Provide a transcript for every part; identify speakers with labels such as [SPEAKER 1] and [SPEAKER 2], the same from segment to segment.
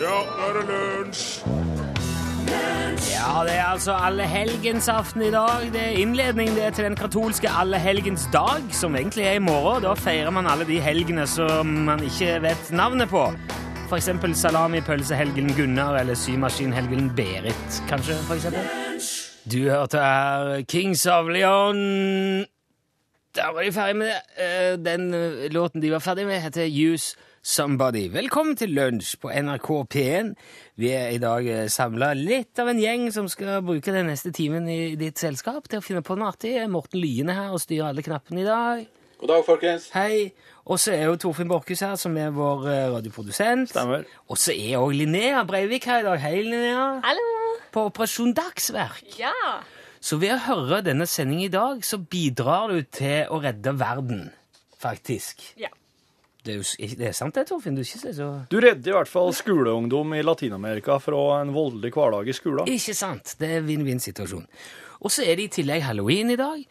[SPEAKER 1] Ja, nå er det lunsj!
[SPEAKER 2] Ja, det er altså allehelgensaften i dag. Det er innledning det er til den katolske allehelgensdag, som egentlig er i morgen. Da feirer man alle de helgene som man ikke vet navnet på. For eksempel salamipølsehelgen Gunnar eller symaskinhelgen Berit, kanskje, for eksempel. Du hørte her Kings of Leon. Da var de ferdig med det. Eh, Den eh, låten de var ferdig med, heter Use Somebody. Velkommen til lunsj på NRK P1. Vi er i dag samla litt av en gjeng som skal bruke den neste timen i ditt selskap til å finne på noe artig. Morten Lyene her og styrer alle knappene i dag.
[SPEAKER 3] God dag, folkens.
[SPEAKER 2] Hei. Og så er jo Torfinn Borchhus her, som er vår eh, radioprodusent.
[SPEAKER 3] Stemmer.
[SPEAKER 2] Og så er òg Linnea Breivik her i dag. Hei, Linnea.
[SPEAKER 4] Hallo!
[SPEAKER 2] På Operasjon Dagsverk.
[SPEAKER 4] Ja!
[SPEAKER 2] Så ved å høre denne sendingen i dag, så bidrar du til å redde verden, faktisk.
[SPEAKER 4] Ja.
[SPEAKER 2] Det er, jo, s- ikke- det er sant det, Torfinn? Du er ikke så...
[SPEAKER 3] Du redder i hvert fall skoleungdom i Latin-Amerika fra en voldelig hverdag i skolen.
[SPEAKER 2] Ikke sant? Det er vinn-vinn-situasjon. Og så er det i tillegg halloween i dag,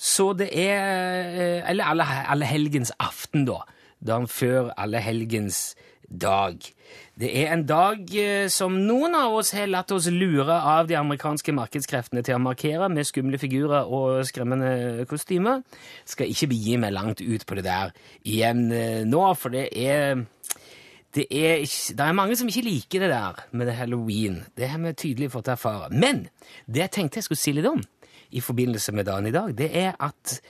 [SPEAKER 2] så det er eh, Eller alle, alle helgens aften, da. Dagen før alle helgens dag. Det er en dag eh, som noen av oss har latt oss lure av de amerikanske markedskreftene til å markere med skumle figurer og skremmende kostymer. Skal ikke begi meg langt ut på det der igjen eh, nå, for det er det er, ikke, det er mange som ikke liker det der med det halloween. Det har vi tydelig fått erfare. Men det jeg tenkte jeg skulle si litt om i forbindelse med dagen i dag, det er at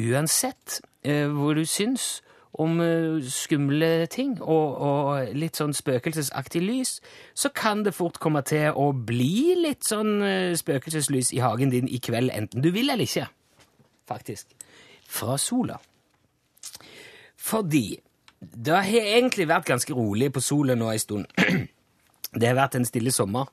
[SPEAKER 2] uansett eh, hva du syns om eh, skumle ting og, og litt sånn spøkelsesaktig lys, så kan det fort komme til å bli litt sånn eh, spøkelseslys i hagen din i kveld, enten du vil eller ikke, faktisk. Fra sola. Fordi det har egentlig vært ganske rolig på solen nå en stund. Det har vært en stille sommer,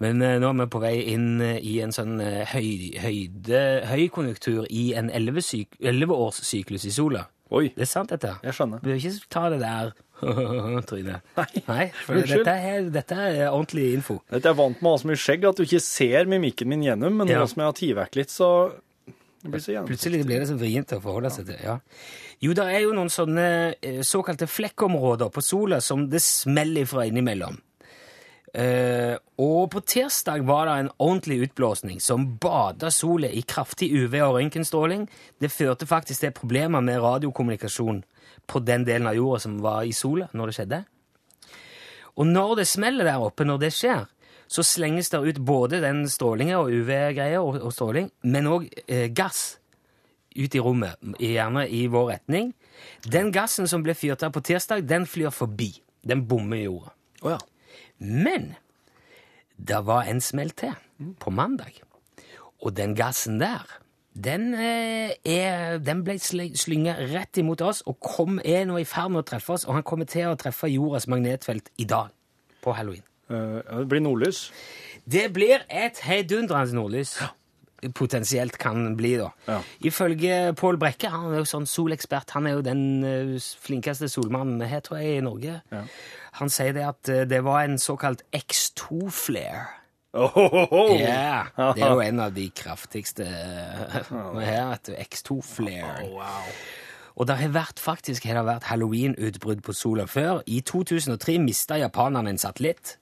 [SPEAKER 2] men eh, nå er vi på vei inn eh, i en sånn eh, høy, høyde, høykonjunktur i en 11-syk- 11-årssyklus i sola.
[SPEAKER 3] Oi,
[SPEAKER 2] Det er sant, dette.
[SPEAKER 3] jeg skjønner.
[SPEAKER 2] Du bør ikke ta det der trynet.
[SPEAKER 3] Nei.
[SPEAKER 2] for
[SPEAKER 3] Unnskyld.
[SPEAKER 2] dette er, dette er ordentlig info.
[SPEAKER 3] Dette er vant med å ha så mye skjegg at du ikke ser mimikken min gjennom, men
[SPEAKER 2] Ja.
[SPEAKER 3] nå som jeg har tatt vekk litt, så det blir så gjennom.
[SPEAKER 2] Plutselig blir det så vrient å forholde seg til. ja. Jo, det er jo noen sånne eh, såkalte flekkområder på sola som det smeller fra innimellom. Eh, og på tirsdag var det en ordentlig utblåsning som bada sola i kraftig UV- og røntgenstråling. Det førte faktisk til problemer med radiokommunikasjon på den delen av jorda som var i sola når det skjedde. Og når det smeller der oppe, når det skjer, så slenges det ut både den strålinga og UV-greia og, og stråling, men òg eh, gass ut i rommet, gjerne i vår retning. Den gassen som ble fyrt av på tirsdag, den flyr forbi. Den bommer i jorda.
[SPEAKER 3] Å ja.
[SPEAKER 2] Men det var en smell til på mandag. Og den gassen der, den, eh, er, den ble slynga rett imot oss og kom, er nå i ferd med å treffe oss, og han kommer til å treffe jordas magnetfelt i dag, på halloween.
[SPEAKER 3] Eh, ja, Det blir nordlys.
[SPEAKER 2] Det blir et heidundrende nordlys. Potensielt kan bli, da.
[SPEAKER 3] Ja.
[SPEAKER 2] Ifølge Pål Brekke, han er jo sånn solekspert, han er jo den eh, flinkeste solmannen vi har, tror jeg, i Norge. Han sier det at eh, det var en såkalt X2-flair.
[SPEAKER 3] Ohohoho!
[SPEAKER 2] Ja, det er jo en av de kraftigste vi har, vet du. X2-flair. Og det har vært faktisk har det vært halloween-utbrudd på sola før. I 2003 mista japanerne en satellitt.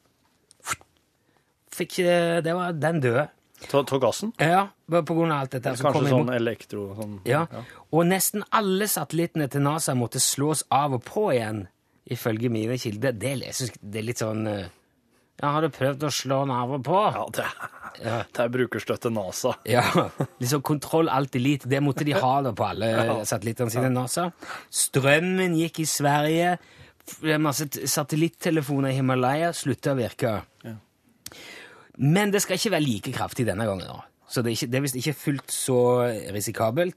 [SPEAKER 2] Fikk, eh, det var den døde.
[SPEAKER 3] Ta, ta gassen.
[SPEAKER 2] Ja, bare på grunn av alt dette. her som kom
[SPEAKER 3] Kanskje
[SPEAKER 2] imot.
[SPEAKER 3] sånn elektro sånn.
[SPEAKER 2] Ja. Og nesten alle satellittene til NASA måtte slås av og på igjen, ifølge mine kilder. Det, jeg synes, det er litt sånn eh, Ja, har du prøvd å slå den av og på?
[SPEAKER 3] Ja, det, det er brukerstøtte NASA.
[SPEAKER 2] Ja, liksom kontroll alt elite. Det måtte de ha da på alle satellittene sine. NASA. Strømmen gikk i Sverige. F- det er Masse t- satellittelefoner i Himalaya slutta å virke. Men det skal ikke være like kraftig denne gangen. da. Så det er, ikke, det er visst ikke fullt så risikabelt.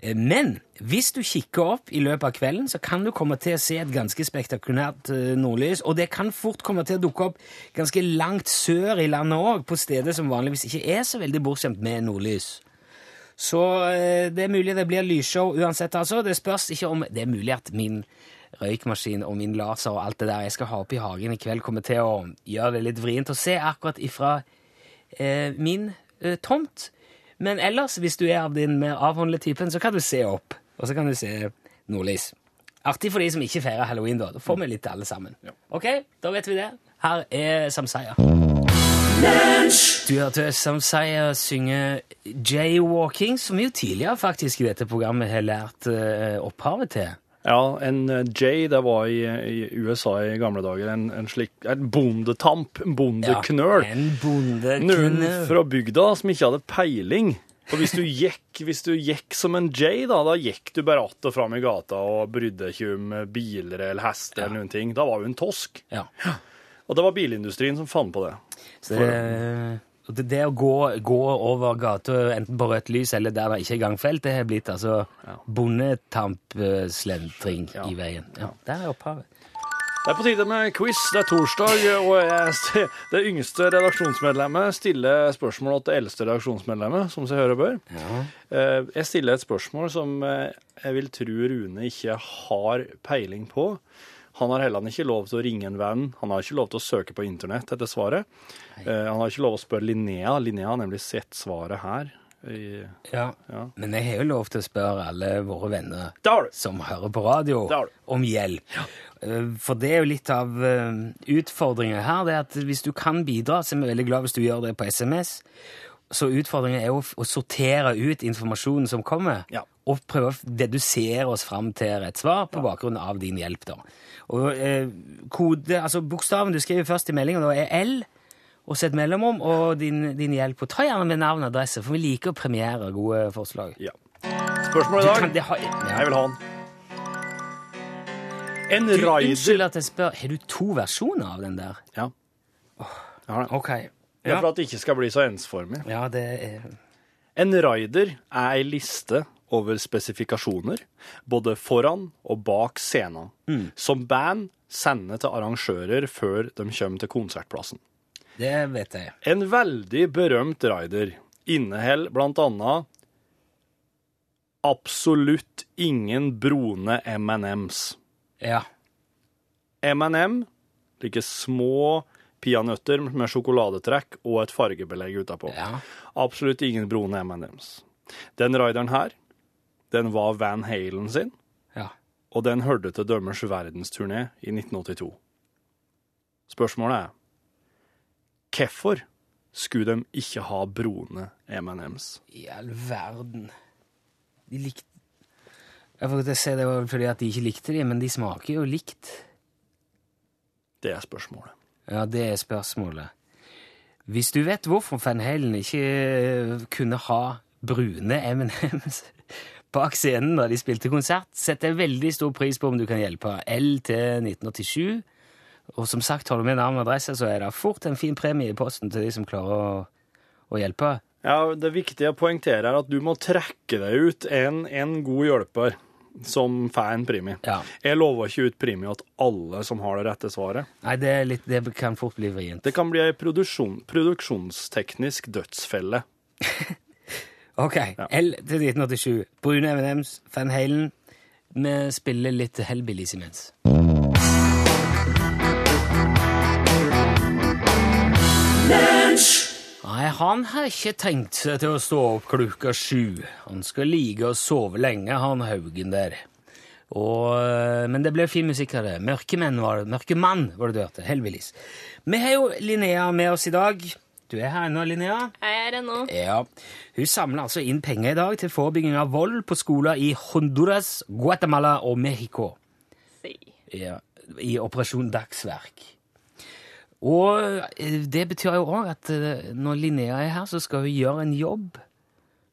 [SPEAKER 2] Eh, Men hvis du kikker opp i løpet av kvelden, så kan du komme til å se et ganske spektakulært eh, nordlys, og det kan fort komme til å dukke opp ganske langt sør i landet òg, på steder som vanligvis ikke er så veldig bortskjemt med nordlys. Så eh, det er mulig det blir lysshow uansett, altså. Det spørs ikke om Det er mulig at min røykmaskin og min laser og alt det der jeg skal ha oppe i hagen i kveld, kommer til å gjøre det litt vrient å se akkurat ifra eh, min eh, tomt. Men ellers, hvis du er av den mer avhåndede typen, så kan du se opp, og så kan du se nordlys. Artig for de som ikke feirer halloween, da. Da får vi litt til alle sammen. Ok, da vet vi det. Her er Samsaya. Du hørte Samsaya synge jaywalking, som vi jo tidligere faktisk i dette programmet har lært eh, opphavet til.
[SPEAKER 3] Ja, en eh, J, det var i, i USA i gamle dager, en, en slik en bondetamp, en bondeknøl.
[SPEAKER 2] Ja, en
[SPEAKER 3] Noen
[SPEAKER 2] bondeknøl.
[SPEAKER 3] fra bygda som ikke hadde peiling. Og hvis du gikk, hvis du gikk som en J, da, da gikk du bare att og fram i gata og brydde ikke om biler eller hester eller noen ting. Da var du en tosk.
[SPEAKER 2] Ja.
[SPEAKER 3] Og det var bilindustrien som fant på det.
[SPEAKER 2] Så det, og det, det å gå, gå over gata, enten på rødt lys eller der det ikke er gangfelt, det har blitt altså bondetampslentring i veien. Ja, der er opphavet.
[SPEAKER 3] Det er på tide med quiz. Det er torsdag, og jeg st- det yngste redaksjonsmedlemmet stiller spørsmål til det eldste redaksjonsmedlemmet, som seg høre bør. Eh, Jeg stiller et spørsmål som eh, jeg vil tro Rune ikke har peiling på. Han har heller ikke lov til å ringe en venn, han har ikke lov til å søke på internett etter svaret. Eh, Han har ikke lov til å spørre Linnea. Linnea har nemlig sett svaret her. i-
[SPEAKER 2] Ja. Men jeg har jo lov til å spørre alle våre venner
[SPEAKER 3] Det har du!
[SPEAKER 2] som hører på radio,
[SPEAKER 3] Det har du.
[SPEAKER 2] om hjelp. Eh, For det er jo litt av eh, utfordringen her, det er at hvis du kan bidra, så er vi veldig glad hvis du gjør det på SMS. Så utfordringen er jo f- å sortere ut informasjonen som kommer,
[SPEAKER 3] Ja.
[SPEAKER 2] og prøve å f- dedusere oss fram til rett svar på bakgrunn av din hjelp. da. Og eh, kode, altså Bokstaven du skriver først i meldingen, da er L, og så et mellomrom, og din, din hjelp. Og ta gjerne med navn og adresse, for vi liker å premiere gode forslag.
[SPEAKER 3] Ja. Spørsmålet
[SPEAKER 2] Du
[SPEAKER 3] i
[SPEAKER 2] kan,
[SPEAKER 3] dag.
[SPEAKER 2] det har, ja.
[SPEAKER 3] Jeg vil ha den. En
[SPEAKER 2] Du, unnskyld
[SPEAKER 3] raider
[SPEAKER 2] at jeg spør, har du to versjoner av den der?
[SPEAKER 3] Ja. Jeg har den.
[SPEAKER 2] Ok.
[SPEAKER 3] Det
[SPEAKER 2] Ja,
[SPEAKER 3] er for at det ikke skal bli så ensformig.
[SPEAKER 2] ja det er...
[SPEAKER 3] En rider er ei liste over spesifikasjoner, både foran og bak scenen,
[SPEAKER 2] Mm.
[SPEAKER 3] som band sender til arrangører før de kommer til konsertplassen.
[SPEAKER 2] Det vet jeg.
[SPEAKER 3] En veldig berømt rider inneholder blant annet absolutt ingen brune M&Ms.
[SPEAKER 2] Ja.
[SPEAKER 3] M&M, like små peanøtter med sjokoladetrekk og et fargebelegg utapå.
[SPEAKER 2] Ja.
[SPEAKER 3] Absolutt ingen brune M&M's. Den rideren her, den var Van Halen sin,
[SPEAKER 2] Ja.
[SPEAKER 3] og den hørte til dømmers verdensturné i 1982. Spørsmålet er, hvorfor skulle de ikke ha brune M&M's?
[SPEAKER 2] I all verden. De likte... Jeg får ikke si det var fordi at de ikke likte de, men de smaker jo likt.
[SPEAKER 3] Det er spørsmålet.
[SPEAKER 2] Ja, det er spørsmålet. Hvis du vet hvorfor Van Halen ikke eh, kunne ha brune M&M's bak scenen da de spilte konsert, setter jeg veldig stor pris på om du kan hjelpe L til 1987. Og som sagt, holder du med navn og adresse, så er det fort en fin premie i posten til de som klarer å, å hjelpe.
[SPEAKER 3] Ja, det viktige å poengtere er at du må trekke deg ut en, en god hjelper som får en primi.
[SPEAKER 2] Ja.
[SPEAKER 3] Jeg lover ikke ut primi til alle som har det rette svaret.
[SPEAKER 2] Nei, det, er litt, det kan fort bli vrient.
[SPEAKER 3] Det kan bli ei produksjon, produksjonsteknisk dødsfelle.
[SPEAKER 2] Ok, L til 1987. Brune M&M's, Van Halen. Vi spiller litt Hellbillies imens. Nei, han har ikke tenkt seg til å stå opp klokka sju. Han skal ligge og sove lenge, han Haugen der. Og, eh, men det ble fin musikk av det. Mørkemenn var det. Mørkemann var det du hørte. Hellbillies. Vi har jo Linnea med oss i dag. Du er her ennå, Linnea?
[SPEAKER 1] Jeg er her ennå.
[SPEAKER 2] Ja. Hun samler altså inn penger i dag til forebygging av vold på skoler i Honduras, Guatemala og Mexico
[SPEAKER 1] Si.
[SPEAKER 2] ja, i Operasjon Dagsverk. Og eh, det betyr jo òg at eh, når Linnea er her, så skal hun gjøre en jobb.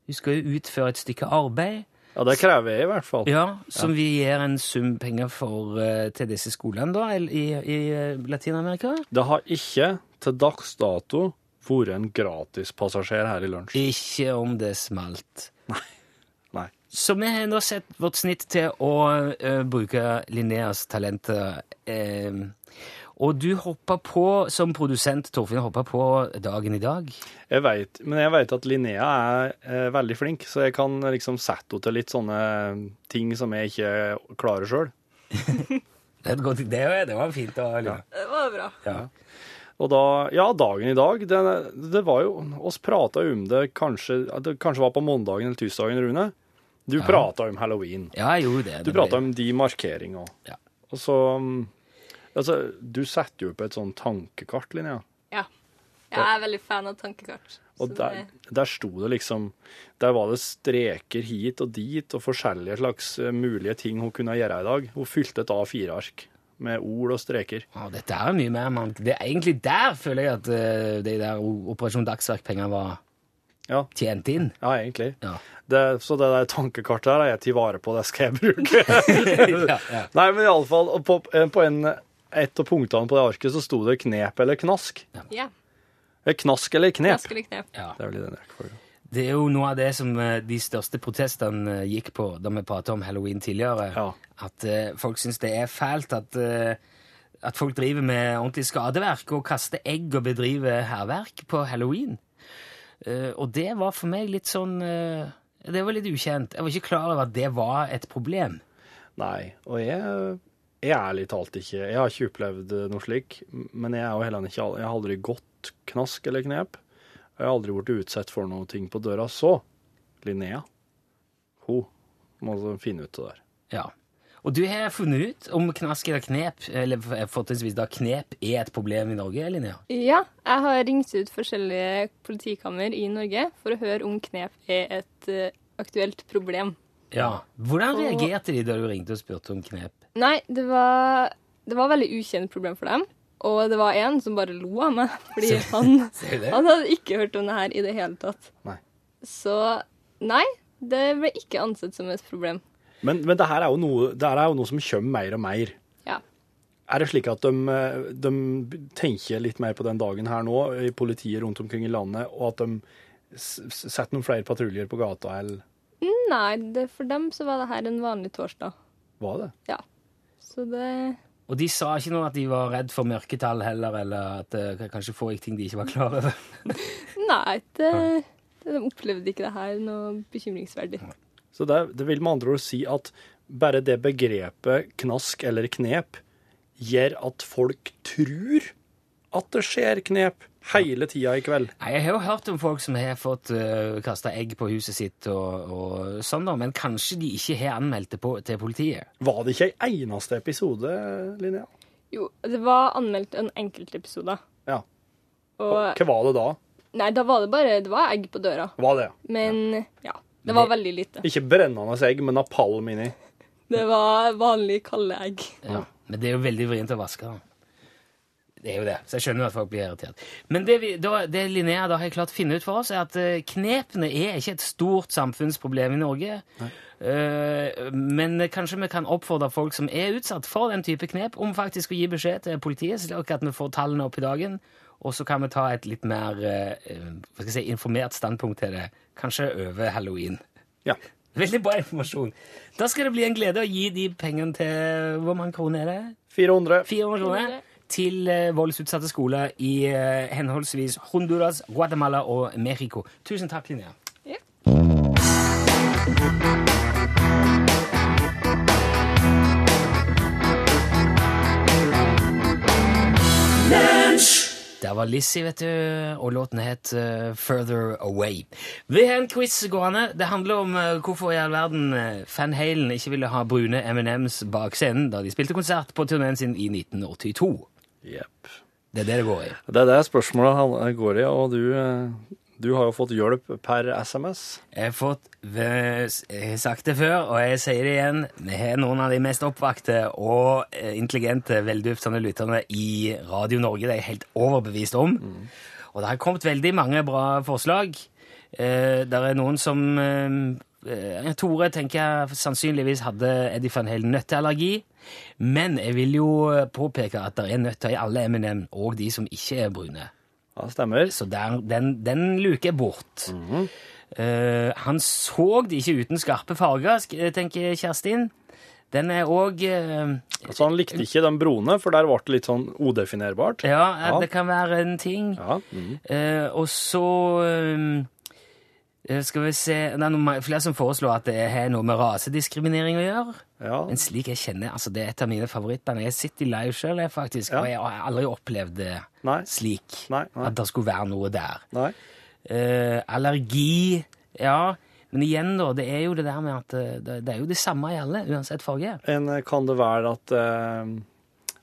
[SPEAKER 2] Hun skal jo utføre et stykke arbeid
[SPEAKER 3] Ja, det krever jeg i hvert fall.
[SPEAKER 2] ja, som vi gir en sum penger for eh, til disse skolene da, el- i, i eh, Latin-Amerika.
[SPEAKER 3] Det har ikke til dags dato vært en gratispassasjer her i lunsj.
[SPEAKER 2] Ikke om det smalt.
[SPEAKER 3] Nei.
[SPEAKER 2] Så vi har nå sett vårt snitt til å eh, bruke Linneas talenter. eh, og du hoppa på, som produsent, Torfinn, hoppa på dagen i dag.
[SPEAKER 3] Jeg vet, men jeg vet at Linnea er eh, veldig flink, så jeg kan liksom sette henne til litt sånne ting som jeg ikke klarer sjøl.
[SPEAKER 2] Det, er et godt, det, var- det var fint å høre.
[SPEAKER 1] Det var bra.
[SPEAKER 2] Ja.
[SPEAKER 3] Og da, ja, dagen i dag, det, det var jo, oss pratet jo om det kanskje, at det kanskje var på måndagen eller tirsdagen, Rune. Du prata om halloween.
[SPEAKER 2] Ja, jeg gjorde det.
[SPEAKER 3] Du prata om de markeringene.
[SPEAKER 2] Ja.
[SPEAKER 3] Og så mm, Altså, du setter jo opp et sånn tankekart, Linnea.
[SPEAKER 1] Ja. Jeg er veldig fan av tankekart.
[SPEAKER 3] Og
[SPEAKER 1] så
[SPEAKER 3] der,
[SPEAKER 1] det-
[SPEAKER 3] der sto det liksom Der var det streker hit og dit, og forskjellige slags eh, mulige ting hun kunne gjøre i dag. Hun fylte et A4-ark med ord og streker.
[SPEAKER 2] Å, dette er mye mer, mann. Det er egentlig der føler jeg at eh, de der O- Operasjon Dagsverk-pengene var
[SPEAKER 3] Ja.
[SPEAKER 2] tjent inn.
[SPEAKER 3] Ja, egentlig.
[SPEAKER 2] Ja.
[SPEAKER 3] Det, så det der tankekartet her har jeg til vare på, det skal jeg bruke.
[SPEAKER 2] ja, ja.
[SPEAKER 3] Nei, men iallfall på, eh, på en, et av punktene på det arket så sto det knep eller knask.
[SPEAKER 1] Ja.
[SPEAKER 3] Eh, Knask eller knep.
[SPEAKER 1] Ganske likt knep.
[SPEAKER 2] Ja.
[SPEAKER 3] Det er vel det den rekkefølgen.
[SPEAKER 2] Det er jo noe av det som eh, de største protestene eh, gikk på da vi pratet om halloween tidligere.
[SPEAKER 3] Ja.
[SPEAKER 2] At eh, folk syns det er fælt at, eh, at folk driver med ordentlig skadeverk og kaster egg og bedriver hærverk på halloween. Eh, og det var for meg litt sånn eh, Det var litt ukjent. Jeg var ikke klar over at det var et problem.
[SPEAKER 3] Nei, og jeg, jeg er ærlig talt ikke Jeg har ikke opplevd noe slik, men jeg er jo heller ikke Jeg har aldri gått knask eller knep. Jeg har aldri blitt utsatt for noe ting på døra. Så Linnea, hun må altså finne ut det der.
[SPEAKER 2] Ja. Og du har funnet ut om knask eller knep, eller f- fortrinnsvis da knep, er et problem i Norge, Linnea?
[SPEAKER 1] Ja, jeg har ringt ut forskjellige politikammer i Norge for å høre om knep er et eh, aktuelt problem.
[SPEAKER 2] Ja. Hvordan
[SPEAKER 1] Og-
[SPEAKER 2] reagerte de da du ringte og spurte om knep?
[SPEAKER 1] Nei, det var, det var veldig ukjent problem for dem. Og det var en som bare lo av meg, fordi han,
[SPEAKER 2] Ser du det?
[SPEAKER 1] han hadde ikke hørt om det her i det hele tatt.
[SPEAKER 3] Nei.
[SPEAKER 1] Så nei, det ble ikke ansett som et problem.
[SPEAKER 3] Men, men det her er jo noe, det her er jo noe som kommer mer og mer.
[SPEAKER 1] Ja.
[SPEAKER 3] Er det slik at de, eh, de tenker litt mer på den dagen her nå, i politiet rundt omkring i landet, og at de s- s- setter noen flere patruljer på gata, eller
[SPEAKER 1] Nei, det, for dem så var det her en vanlig torsdag.
[SPEAKER 3] hva er det?
[SPEAKER 1] Ja. Så det
[SPEAKER 2] Og de sa ikke noe at de var redd for mørketall heller, eller at det kanskje foregikk ting de ikke var klar over.
[SPEAKER 1] Nei, det, de opplevde ikke det her noe bekymringsverdig.
[SPEAKER 3] Så det, det vil med andre ord si at bare det begrepet knask eller knep gjør at folk tror at det skjer knep hele tida i kveld.
[SPEAKER 2] Nei, Jeg har jo hørt om folk som har fått uh, kasta egg på huset sitt og, og sånn, da, men kanskje de ikke har anmeldt det på, til politiet.
[SPEAKER 3] Var det ikke ei eneste episode, Linnea?
[SPEAKER 1] Jo, det var anmeldt en enkeltepisode.
[SPEAKER 3] Ja.
[SPEAKER 1] Og
[SPEAKER 3] Hva var det da?
[SPEAKER 1] Nei, da var det bare Det var egg på døra.
[SPEAKER 3] Var det?
[SPEAKER 1] Men ja. Det var veldig lite.
[SPEAKER 3] Ikke brennende egg, men napalm inni.
[SPEAKER 1] Det var vanlig kalde egg.
[SPEAKER 2] Ja. Men det er jo veldig vrient å vaske. da. Det er jo det, så jeg skjønner jo at folk blir irritert. Men det, vi, da, det Linnea da har klart å finne ut for oss, er at eh, knepene er ikke et stort samfunnsproblem i Norge. Eh, men kanskje vi kan oppfordre folk som er utsatt for den type knep, om faktisk å gi beskjed til politiet, slik at vi får tallene opp i dagen. Og så kan vi ta et litt mer eh, eh, hva skal jeg si, informert standpunkt til det, kanskje over halloween.
[SPEAKER 3] Ja.
[SPEAKER 2] Veldig bra informasjon. Da skal det bli en glede å gi de pengene til Hvor mange kroner er det?
[SPEAKER 3] 400.
[SPEAKER 2] 400 kroner til eh, voldsutsatte skoler i eh, henholdsvis Honduras, Guatemala og Mexico. Tusen takk, Linnea.
[SPEAKER 1] Ja.
[SPEAKER 2] Der var Lizzie, vet du, og låten het eh, Further Away. Vi har en quiz gående. Det handler om eh, hvorfor i all verden eh, Van Halen ikke ville ha brune M&M's bak scenen da de spilte konsert på turneen sin i 1982.
[SPEAKER 3] Jepp.
[SPEAKER 2] Det er det det går i.
[SPEAKER 3] Det er det spørsmålet han går i, og du, eh, du har jo fått hjelp per SMS.
[SPEAKER 2] Jeg har fått jeg har sagt det før, og jeg sier det igjen. Vi har noen av de mest oppvakte og eh, intelligente, velduftende lytterne i Radio Norge. Det er jeg helt overbevist om. Og det har kommet veldig mange bra forslag. Eh, der er noen som eh, eh, Tore tenker jeg sannsynligvis hadde Eddie van Halen nøtteallergi. Men jeg vil jo påpeke at det er nøtter i alle M&M, og de som ikke er brune.
[SPEAKER 3] Ja, det stemmer.
[SPEAKER 2] Så der, den, den luker bort.
[SPEAKER 3] Mhm.
[SPEAKER 2] Eh, han så det ikke uten skarpe farger, sk- eh, tenker Kjerstin. Den er eh, òg
[SPEAKER 3] Altså, han likte ikke den brune, for der ble det litt sånn udefinerbart.
[SPEAKER 2] Ja,
[SPEAKER 3] Ja.
[SPEAKER 2] det kan være en ting.
[SPEAKER 3] Ja, mhm.
[SPEAKER 2] Eh, og så ehm, eh, skal vi se Det er noen, ma- flere som foreslår at det har noe med rasediskriminering å gjøre.
[SPEAKER 3] ja.
[SPEAKER 2] Men slik jeg kjenner, altså det er et av mine favorittband. Jeg sitter i live sjøl, faktisk,
[SPEAKER 3] Ja.
[SPEAKER 2] og jeg har aldri opplevd det
[SPEAKER 3] Nei.
[SPEAKER 2] slik.
[SPEAKER 3] Nei, nei.
[SPEAKER 2] At det skulle være noe der.
[SPEAKER 3] Nei.
[SPEAKER 2] Eh, allergi Ja, Men igjen, da, det er jo det der med at eh, det, det er jo det samme i alle, uansett farge.
[SPEAKER 3] En, eh, kan det være at, eh,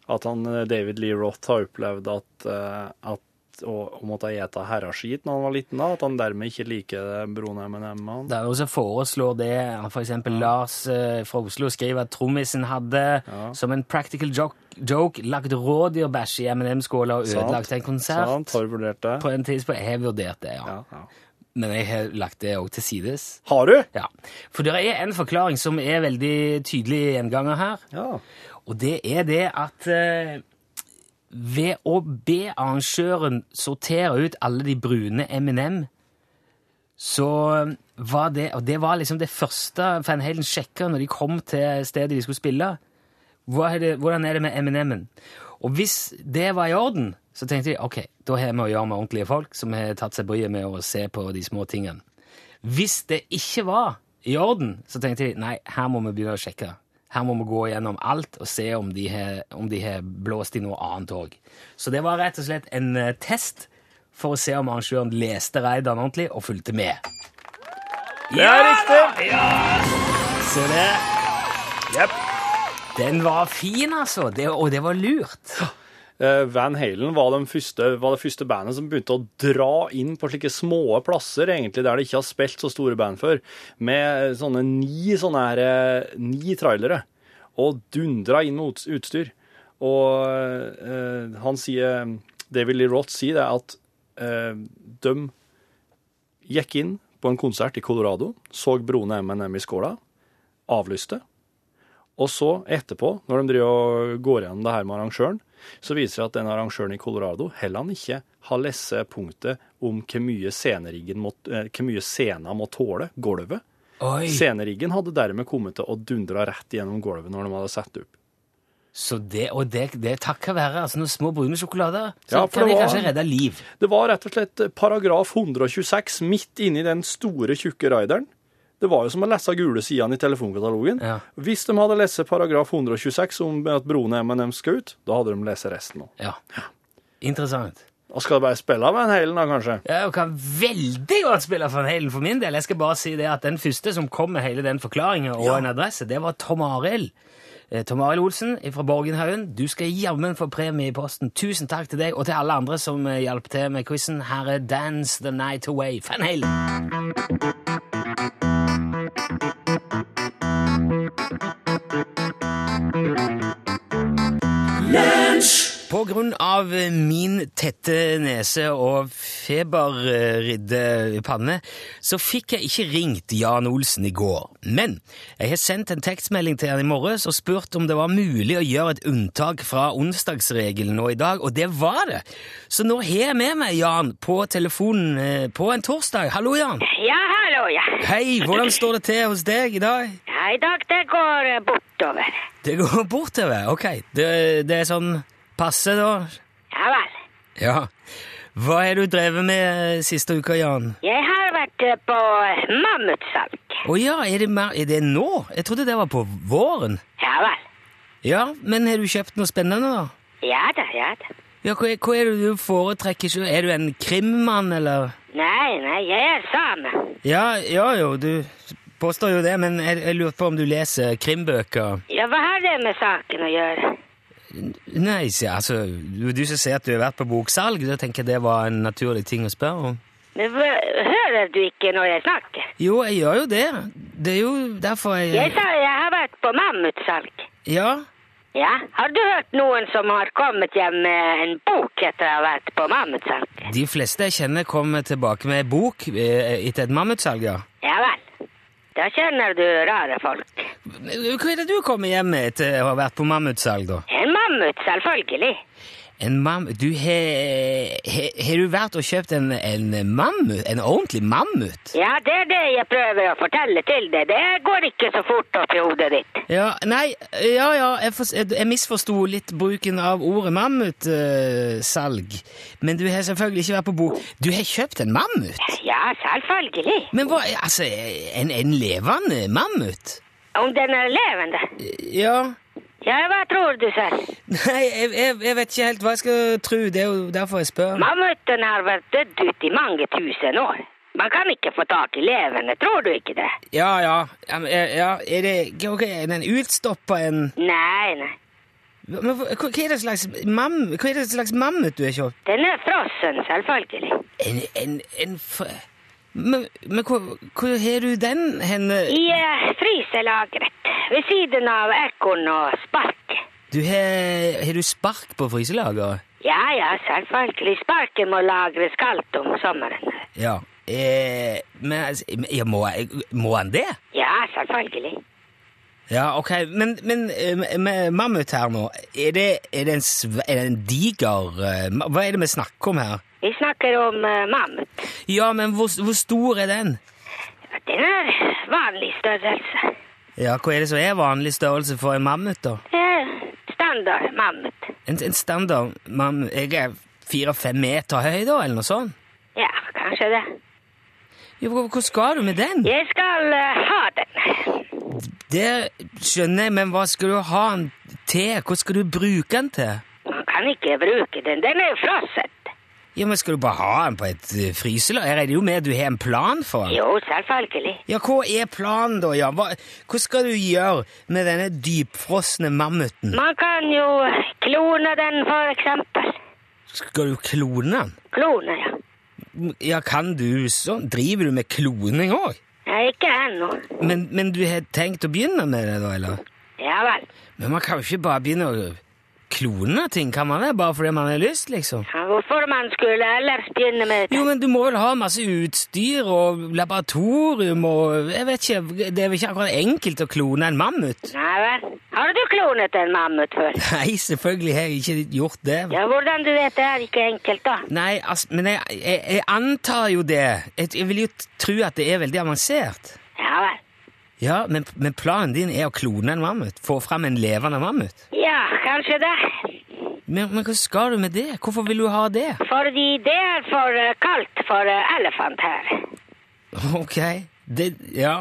[SPEAKER 3] at han, eh, David Lee Roth har opplevd at, eh, at å, å måtte ete herreskit når han var liten, da, at han dermed ikke liker broen M&M-en?
[SPEAKER 2] Det er jo som foreslår det for eksempel Lars eh, fra Oslo skriver at trommisen hadde som en practical joke, joke lagt rådyrbæsj i M&M-skåla og
[SPEAKER 3] Sant.
[SPEAKER 2] ødelagt en konsert.
[SPEAKER 3] Sant, har du vurdert det?
[SPEAKER 2] På en tidspunkt Jeg har vurdert det, ja.
[SPEAKER 3] Ja, ja.
[SPEAKER 2] Men jeg har lagt det òg til sides.
[SPEAKER 3] Har du?
[SPEAKER 2] Ja. For det er en forklaring som er veldig tydelig gjenganger her.
[SPEAKER 3] Ja.
[SPEAKER 2] Og det er det at eh, ved å be arrangøren sortere ut alle de brune M&M, så eh, var det Og det var liksom det første Van Halen sjekka når de kom til stedet de skulle spille. Hva er det, hvordan er det med M&M-en? Og hvis det var i orden, så tenkte de ok, da har vi å gjøre med ordentlige folk som har tatt seg bryet med å se på de små tingene. Hvis det ikke var i orden, så tenkte de nei, her må vi begynne å sjekke. Her må vi gå gjennom alt og se om de har, om de har blåst i noe annet òg. Så det var rett og slett en eh, test for å se om arrangøren leste Reidan ordentlig og fulgte med.
[SPEAKER 3] Det er riktig!
[SPEAKER 2] Se det!
[SPEAKER 3] Jep.
[SPEAKER 2] Den var fin, altså! Det, og det var lurt.
[SPEAKER 3] Eh, Van Halen var, den første, var det første bandet som begynte å dra inn på slike små plasser, egentlig, der de ikke har spilt så store band før, med eh, sånne ni, sånne her, eh, ni trailere, og dundra inn med uts- utstyr. Og eh, han sier, David Lee Roth sier det, at eh, de gikk inn på en konsert i Colorado, så broene M&M i skåla, avlyste, og så etterpå, når de driver og går gjennom det her med arrangøren, så viser det at den arrangøren i Colorado heller han ikke har lest punktet om hvor mye sceneriggen må, eh, hvor mye scenen må tåle, gulvet.
[SPEAKER 2] Oi!
[SPEAKER 3] Sceneriggen hadde dermed kommet til å dundre rett gjennom gulvet når de hadde satt opp.
[SPEAKER 2] Så det, og det, det takket være altså, noen små brune sjokolader, så
[SPEAKER 3] Ja, for
[SPEAKER 2] kan
[SPEAKER 3] det
[SPEAKER 2] de
[SPEAKER 3] var-
[SPEAKER 2] kanskje redde liv.
[SPEAKER 3] Det var rett og slett paragraf 126 midt inni den store, tjukke raideren. Det var jo som å lese gule sidene i telefonkatalogen.
[SPEAKER 2] Ja.
[SPEAKER 3] Hvis de hadde lest paragraf 126 om at broene M&M skal ut, da hadde de lest resten òg.
[SPEAKER 2] Ja. Interessant.
[SPEAKER 3] Da skal de bare spille av en hælen, da, kanskje.
[SPEAKER 2] Jeg kan veldig godt spille Van Halen for min del. Jeg skal bare si det at Den første som kom med hele den forklaringen og en adresse, det var Tom Arild. Eh, Tom Arild Olsen fra Borgenhaugen, du skal jammen få premie i posten. Tusen takk til deg og til alle andre som eh, hjalp til med quizen. Her er Dance the Night Away. Van Halen! På grunn av eh, min tette nese og feberridde panne, så fikk jeg ikke ringt Jan Olsen i går. Men jeg har sendt en tekstmelding til han i morges og spurt om det var mulig å gjøre et unntak fra onsdagsregelen nå i dag, og det var det. Så nå har jeg med meg Jan på telefonen eh, på en torsdag. Hallo, Jan.
[SPEAKER 4] Ja, hallo, ja.
[SPEAKER 2] Hei, hvordan står det til hos deg i dag?
[SPEAKER 4] Ja, I dag det går eh, bortover.
[SPEAKER 2] Det går bortover. Ok, det, det er sånn passe, da.
[SPEAKER 4] Ja vel.
[SPEAKER 2] Ja. Hva har du drevet med eh, siste uka, Jan?
[SPEAKER 4] Jeg har vært eh, på eh, mammutsalg.
[SPEAKER 2] Å ja, er det, mer, er det nå? Jeg trodde det var på våren.
[SPEAKER 4] Ja vel.
[SPEAKER 2] Ja, men har du kjøpt noe spennende, da?
[SPEAKER 4] Ja da, ja da.
[SPEAKER 2] Ja, hva, er- hva er det du foretrekker? sjø? Er du en krimmann, eller?
[SPEAKER 4] Nei, nei, jeg er same.
[SPEAKER 2] Ja, ja jo, du påstår jo det, men jeg, jeg lurer på om du leser krimbøker?
[SPEAKER 4] Ja, hva har det med saken å gjøre?
[SPEAKER 2] Nei, sier jeg, altså, du, du som sier at du har vært på boksalg, da tenker jeg det var en naturlig ting å spørre om.
[SPEAKER 4] Men hva- hører du ikke når jeg snakker?
[SPEAKER 2] Jo, jeg gjør jo det. Det er jo derfor
[SPEAKER 4] Jeg
[SPEAKER 2] jeg
[SPEAKER 4] sa jeg har vært på mammutsalg.
[SPEAKER 2] Ja.
[SPEAKER 4] Ja, har du hørt noen som har kommet hjem med en bok etter å ha vært på mammutsalg?
[SPEAKER 2] De fleste jeg kjenner, kommer tilbake med ei bok eh, etter et mammutsalg, ja.
[SPEAKER 4] Ja vel. Da kjenner du rare folk.
[SPEAKER 2] Hva er det du kommer hjem med etter å ha vært på mammutsalg, da?
[SPEAKER 4] En mammut, selvfølgelig.
[SPEAKER 2] En mam... Du, har he- Har du vært og kjøpt en, en mammut? En ordentlig mammut?
[SPEAKER 4] Ja, det er det jeg prøver å fortelle til deg. Det går ikke så fort opp i hodet ditt.
[SPEAKER 2] Ja, nei Ja, ja, jeg, fors- jeg, jeg misforsto litt bruken av ordet mammutsalg. Men du har selvfølgelig ikke vært på bok... Du har kjøpt en mammut?
[SPEAKER 4] Ja, selvfølgelig.
[SPEAKER 2] Men hva Altså, en, en levende mammut?
[SPEAKER 4] Om den er levende.
[SPEAKER 2] Ja.
[SPEAKER 4] Ja, hva tror du selv?
[SPEAKER 2] Nei, jeg, jeg, jeg vet ikke helt hva jeg skal tro. Det er jo derfor jeg spør.
[SPEAKER 4] Mammuten har vært dødd ut i mange tusen år. Man kan ikke få tak i levende, tror du ikke det?
[SPEAKER 2] Ja, ja. Ja, men, eh, ja. Er det Georg, er den utstoppa en
[SPEAKER 4] Nei, nei.
[SPEAKER 2] Men hva, hva er det slags mam, Hva er det slags mammut du har kjøpt?
[SPEAKER 4] Den er frossen, selvfølgelig.
[SPEAKER 2] En, en, en f... Men, men hvor, hvor har du den henne?
[SPEAKER 4] I uh, fryselageret. Ved siden av ekorn og spark.
[SPEAKER 2] Du har, har du spark på fryselageret?
[SPEAKER 4] Ja, ja, selvfølgelig. Sparken må lagres kaldt om sommeren.
[SPEAKER 2] Ja. Eh, men altså, ja, må, må han det?
[SPEAKER 4] Ja, selvfølgelig.
[SPEAKER 2] Ja, ok. Men, men eh, med mammut her nå, er det, er det, en, sv- er det en diger eh, ma- Hva er det vi snakker om her?
[SPEAKER 4] Vi snakker om eh, mammut.
[SPEAKER 2] Ja, men hvor, hvor stor er den?
[SPEAKER 4] Ja, Den er vanlig størrelse.
[SPEAKER 2] Ja, Hva er det som er vanlig størrelse for en mammut, da?
[SPEAKER 4] Eh, Standard mammut.
[SPEAKER 2] En, en standard mammut Jeg er fire-fem meter høy, da, eller noe sånt?
[SPEAKER 4] Ja, kanskje det.
[SPEAKER 2] Jo, hvor, hvor skal du med den?
[SPEAKER 4] Jeg skal eh, ha den.
[SPEAKER 2] Det skjønner jeg, men hva skal du ha den til? Hva skal du bruke den til?
[SPEAKER 4] Man kan ikke bruke den. Den er frosset.
[SPEAKER 2] Ja, men Skal du bare ha den på et eh, fryselag? Jeg regner jo med at du har en plan for den?
[SPEAKER 4] Jo, selvfølgelig.
[SPEAKER 2] Ja, hva er planen da, Jan? Hva, hva skal du gjøre med denne dypfrosne mammuten?
[SPEAKER 4] Man kan jo klone den, for eksempel.
[SPEAKER 2] Skal du klone den?
[SPEAKER 4] Klone, ja.
[SPEAKER 2] Ja, kan du sånn? Driver du med kloning òg?
[SPEAKER 4] Nei, ikke ennå.
[SPEAKER 2] Men, men du har tenkt å begynne med det, da, eller?
[SPEAKER 4] Ja vel.
[SPEAKER 2] Men man kan jo ikke bare begynne å klone ting, kan man det? Bare fordi man har lyst, liksom?
[SPEAKER 4] Ja, Hvorfor man skulle ellers begynne med
[SPEAKER 2] Jo,
[SPEAKER 4] det?
[SPEAKER 2] men du må vel ha masse utstyr og laboratorium og Jeg vet ikke, det er vel ikke akkurat enkelt å klone en mammut?
[SPEAKER 4] Nei vel. Har du klonet en mammut før?
[SPEAKER 2] Nei, selvfølgelig har jeg ikke gjort det.
[SPEAKER 4] Ja, hvordan du vet det er ikke enkelt, da.
[SPEAKER 2] Nei, altså, men jeg, jeg, jeg antar jo det. Jeg, jeg vil jo t- tro at det er veldig avansert.
[SPEAKER 4] Ja vel.
[SPEAKER 2] Ja, men, men planen din er å klone en mammut? Få fram en levende mammut?
[SPEAKER 4] Ja, kanskje det.
[SPEAKER 2] Men, men hva skal du med det? Hvorfor vil du ha det?
[SPEAKER 4] Fordi det er for eh, kaldt for eh, elefant her.
[SPEAKER 2] Ok, det, ja.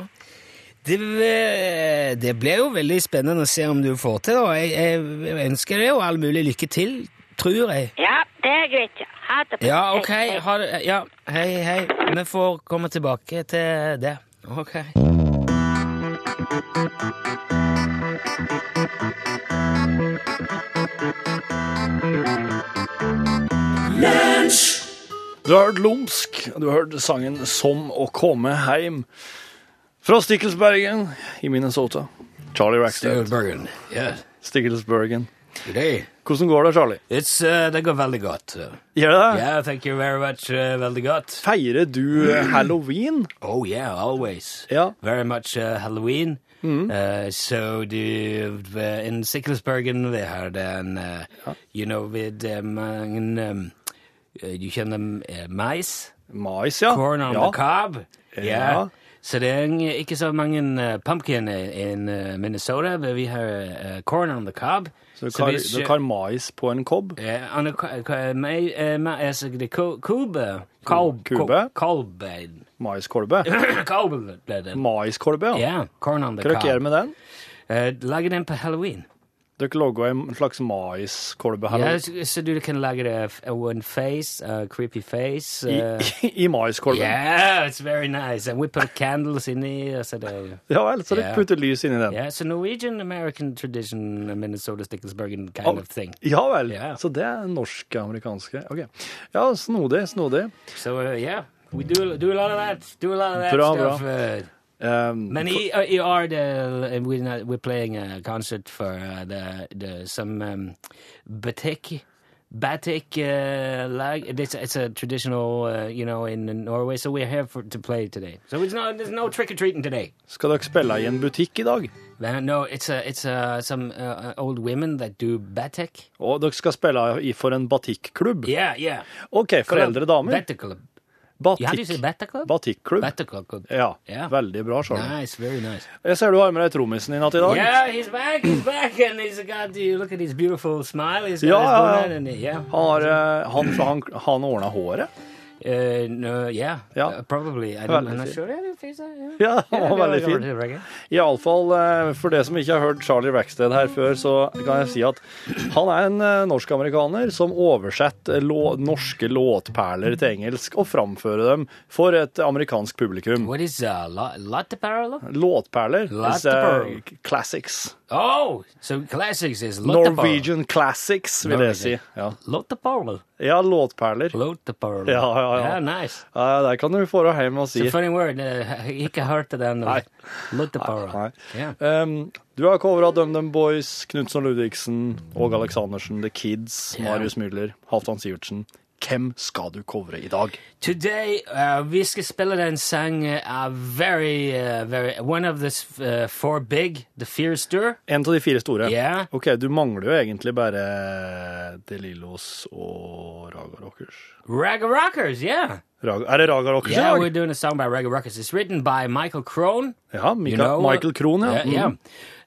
[SPEAKER 2] Det, eh, det blir jo veldig spennende å se om du får til, da. Jeg, jeg, jeg ønsker deg jo all mulig lykke til, tror jeg.
[SPEAKER 4] Ja, det er greit. ja. Ha det. bra.
[SPEAKER 2] Ja,
[SPEAKER 4] Hei,
[SPEAKER 2] ok.
[SPEAKER 4] hei.
[SPEAKER 2] Ha det. Ja, hei, hei. Vi får komme tilbake til det. Ok.
[SPEAKER 3] Du har hørt Lumsk, du har hørt sangen Som å komme heim fra Stikkelsbergen i Minnesota. Charlie Rackstead.
[SPEAKER 5] Bergen. Yes.
[SPEAKER 3] Stikkelsbergen.
[SPEAKER 5] Good day.
[SPEAKER 3] Hvordan går det, Charlie?
[SPEAKER 5] It's, uh, det går veldig godt. uh.
[SPEAKER 3] Gjør det det?
[SPEAKER 5] Yeah, thank you very much. Uh, veldig godt.
[SPEAKER 3] Feirer du eh, halloween?
[SPEAKER 5] Oh yeah, always.
[SPEAKER 3] Ja.
[SPEAKER 5] Very much uh, Halloween. Uh, so the, uh, in Sickelsbergen vi har den, uh, you know, with uh, mange, um, uh, du kjenner uh, mais?
[SPEAKER 3] Mais, ja.
[SPEAKER 5] Corn on
[SPEAKER 3] ja.
[SPEAKER 5] the cob.
[SPEAKER 3] Ja.
[SPEAKER 5] Ah, Ja. Så det er ing- ikke så mange uh, pumpkin i in, uh, Minnesota, men vi har uh, corn on the cob.
[SPEAKER 3] Så du kar,
[SPEAKER 5] hvis- uh,
[SPEAKER 3] du kar mais på en kobb?
[SPEAKER 5] Eh, on the co- co- ma- eh, ma- altså, det ko- Kube. Kolb.
[SPEAKER 3] Kube?
[SPEAKER 5] Kolb.
[SPEAKER 3] Maiskolbe?
[SPEAKER 5] Kolb ble det.
[SPEAKER 3] Maiskolbe, ja.
[SPEAKER 5] Ja, corn on the
[SPEAKER 3] Hva
[SPEAKER 5] cob.
[SPEAKER 3] dere gjør med den?
[SPEAKER 5] Eh, Lager den på halloween.
[SPEAKER 3] Dere lager en slags
[SPEAKER 5] Ja,
[SPEAKER 3] maiskolbe halloween.
[SPEAKER 5] så, så du kan lage det eh, f- one face, a creepy face.
[SPEAKER 3] I,
[SPEAKER 5] eh,
[SPEAKER 3] i, i maiskolben?
[SPEAKER 5] yeah, it's very nice. And we put candles in it. Så det,
[SPEAKER 3] Ja vel, så dere
[SPEAKER 5] Ja.
[SPEAKER 3] putter lys inni den?
[SPEAKER 5] yeah, it's a Norwegian American tradition, uh, Minnesota Stickelsbergen
[SPEAKER 3] Oh.
[SPEAKER 5] kind of thing.
[SPEAKER 3] Ja vel.
[SPEAKER 5] Ja.
[SPEAKER 3] Så det er norske-amerikanske. Ok. Ja, snodig, snodig.
[SPEAKER 5] So uh, yeah, we do do a lot of that. Do a lot of that
[SPEAKER 3] Bra, bra.
[SPEAKER 5] stuff. Uh,
[SPEAKER 3] Um,
[SPEAKER 5] Men i, i år det, we're, not, we're playing a concert for uh, the, the, some um, batik. Batik, uh, lag, it's, it's a traditional, uh, you know, in Norway. So we're here for, to play today. So it's not, there's no trick or treating today.
[SPEAKER 3] Skal dere spille i en butikk i dag?
[SPEAKER 5] Uh, no, it's a, it's a, some uh, old women that do batik.
[SPEAKER 3] Og dere skal spille i for en batikklubb?
[SPEAKER 5] Yeah, yeah.
[SPEAKER 3] OK, for eldre damer.
[SPEAKER 5] Batik club. Yeah, how do you say
[SPEAKER 3] Batikk.
[SPEAKER 5] batik club?
[SPEAKER 3] Batikklubb.
[SPEAKER 5] Batik club.
[SPEAKER 3] Ja,
[SPEAKER 5] Ja.
[SPEAKER 3] veldig bra, Charlie.
[SPEAKER 5] Nice, very nice.
[SPEAKER 3] Jeg ser du har med deg trommisen din hatt
[SPEAKER 2] Oh,
[SPEAKER 3] i dag.
[SPEAKER 5] Yeah, he's back. He's back, and he's got. You look at his beautiful smile. He's got
[SPEAKER 3] Ja,
[SPEAKER 5] his
[SPEAKER 3] ja, ja.
[SPEAKER 5] bonnet, and he- yeah,
[SPEAKER 3] Han, har, eh, han, han, han ordna håret.
[SPEAKER 2] Uh, no, yeah,
[SPEAKER 3] Ja.
[SPEAKER 2] uh, probably. I don't,
[SPEAKER 3] Veldig
[SPEAKER 2] I'm not
[SPEAKER 3] fint.
[SPEAKER 2] sure. Yeah, det finnes det, ja.
[SPEAKER 3] Ja, han var veldig fin.
[SPEAKER 2] Ja, det reggae.
[SPEAKER 3] Iallfall eh, for det som ikke har hørt Charlie Rackstead her før, så kan jeg si at han er en eh, norsk-amerikaner som oversetter lå- norske låtperler til engelsk og framfører dem for et amerikansk publikum.
[SPEAKER 2] What is uh, la- latte parallel?
[SPEAKER 3] Låtperler is eh,
[SPEAKER 2] Latterpearl.
[SPEAKER 3] classics.
[SPEAKER 2] Oh, so classics is latte parallel.
[SPEAKER 3] Norwegian classics, vil jeg si.
[SPEAKER 2] Norwegian.
[SPEAKER 3] Ja,
[SPEAKER 2] Latte parallel.
[SPEAKER 3] ja låtperler.
[SPEAKER 2] Latte parallel.
[SPEAKER 3] Ja, ja, ja.
[SPEAKER 2] Yeah, nice.
[SPEAKER 3] Ja, der kan du få deg hjem og si.
[SPEAKER 2] It's a funny word. Uh, ikke hørte den.
[SPEAKER 3] Nei.
[SPEAKER 2] Latte parallel.
[SPEAKER 3] Nei.
[SPEAKER 2] Yeah.
[SPEAKER 3] Um, du har covra DumDum Boys, Knutsen og Ludvigsen, Åge Aleksandersen, The Kids, Marius Müller, Halvdan Sivertsen. Hvem skal du covre i dag?
[SPEAKER 2] Today uh, vi skal spille den sang uh, uh, very, uh, very one of the s- uh, four big, the Fearster.
[SPEAKER 3] En av de fire store.
[SPEAKER 2] Yeah.
[SPEAKER 3] OK, du mangler jo egentlig bare De Lillos og Raga Rockers.
[SPEAKER 2] Raga Rockers, yeah.
[SPEAKER 3] Raga, er det Raga Rockers
[SPEAKER 2] Yeah,
[SPEAKER 3] i
[SPEAKER 2] we're
[SPEAKER 3] dag?
[SPEAKER 2] doing a song by Raga Rockers. It's written by Michael Crone.
[SPEAKER 3] Ja, Mika,
[SPEAKER 2] You know, uh,
[SPEAKER 3] Michael Krohn, ja.
[SPEAKER 2] Yeah, yeah.
[SPEAKER 3] Mm.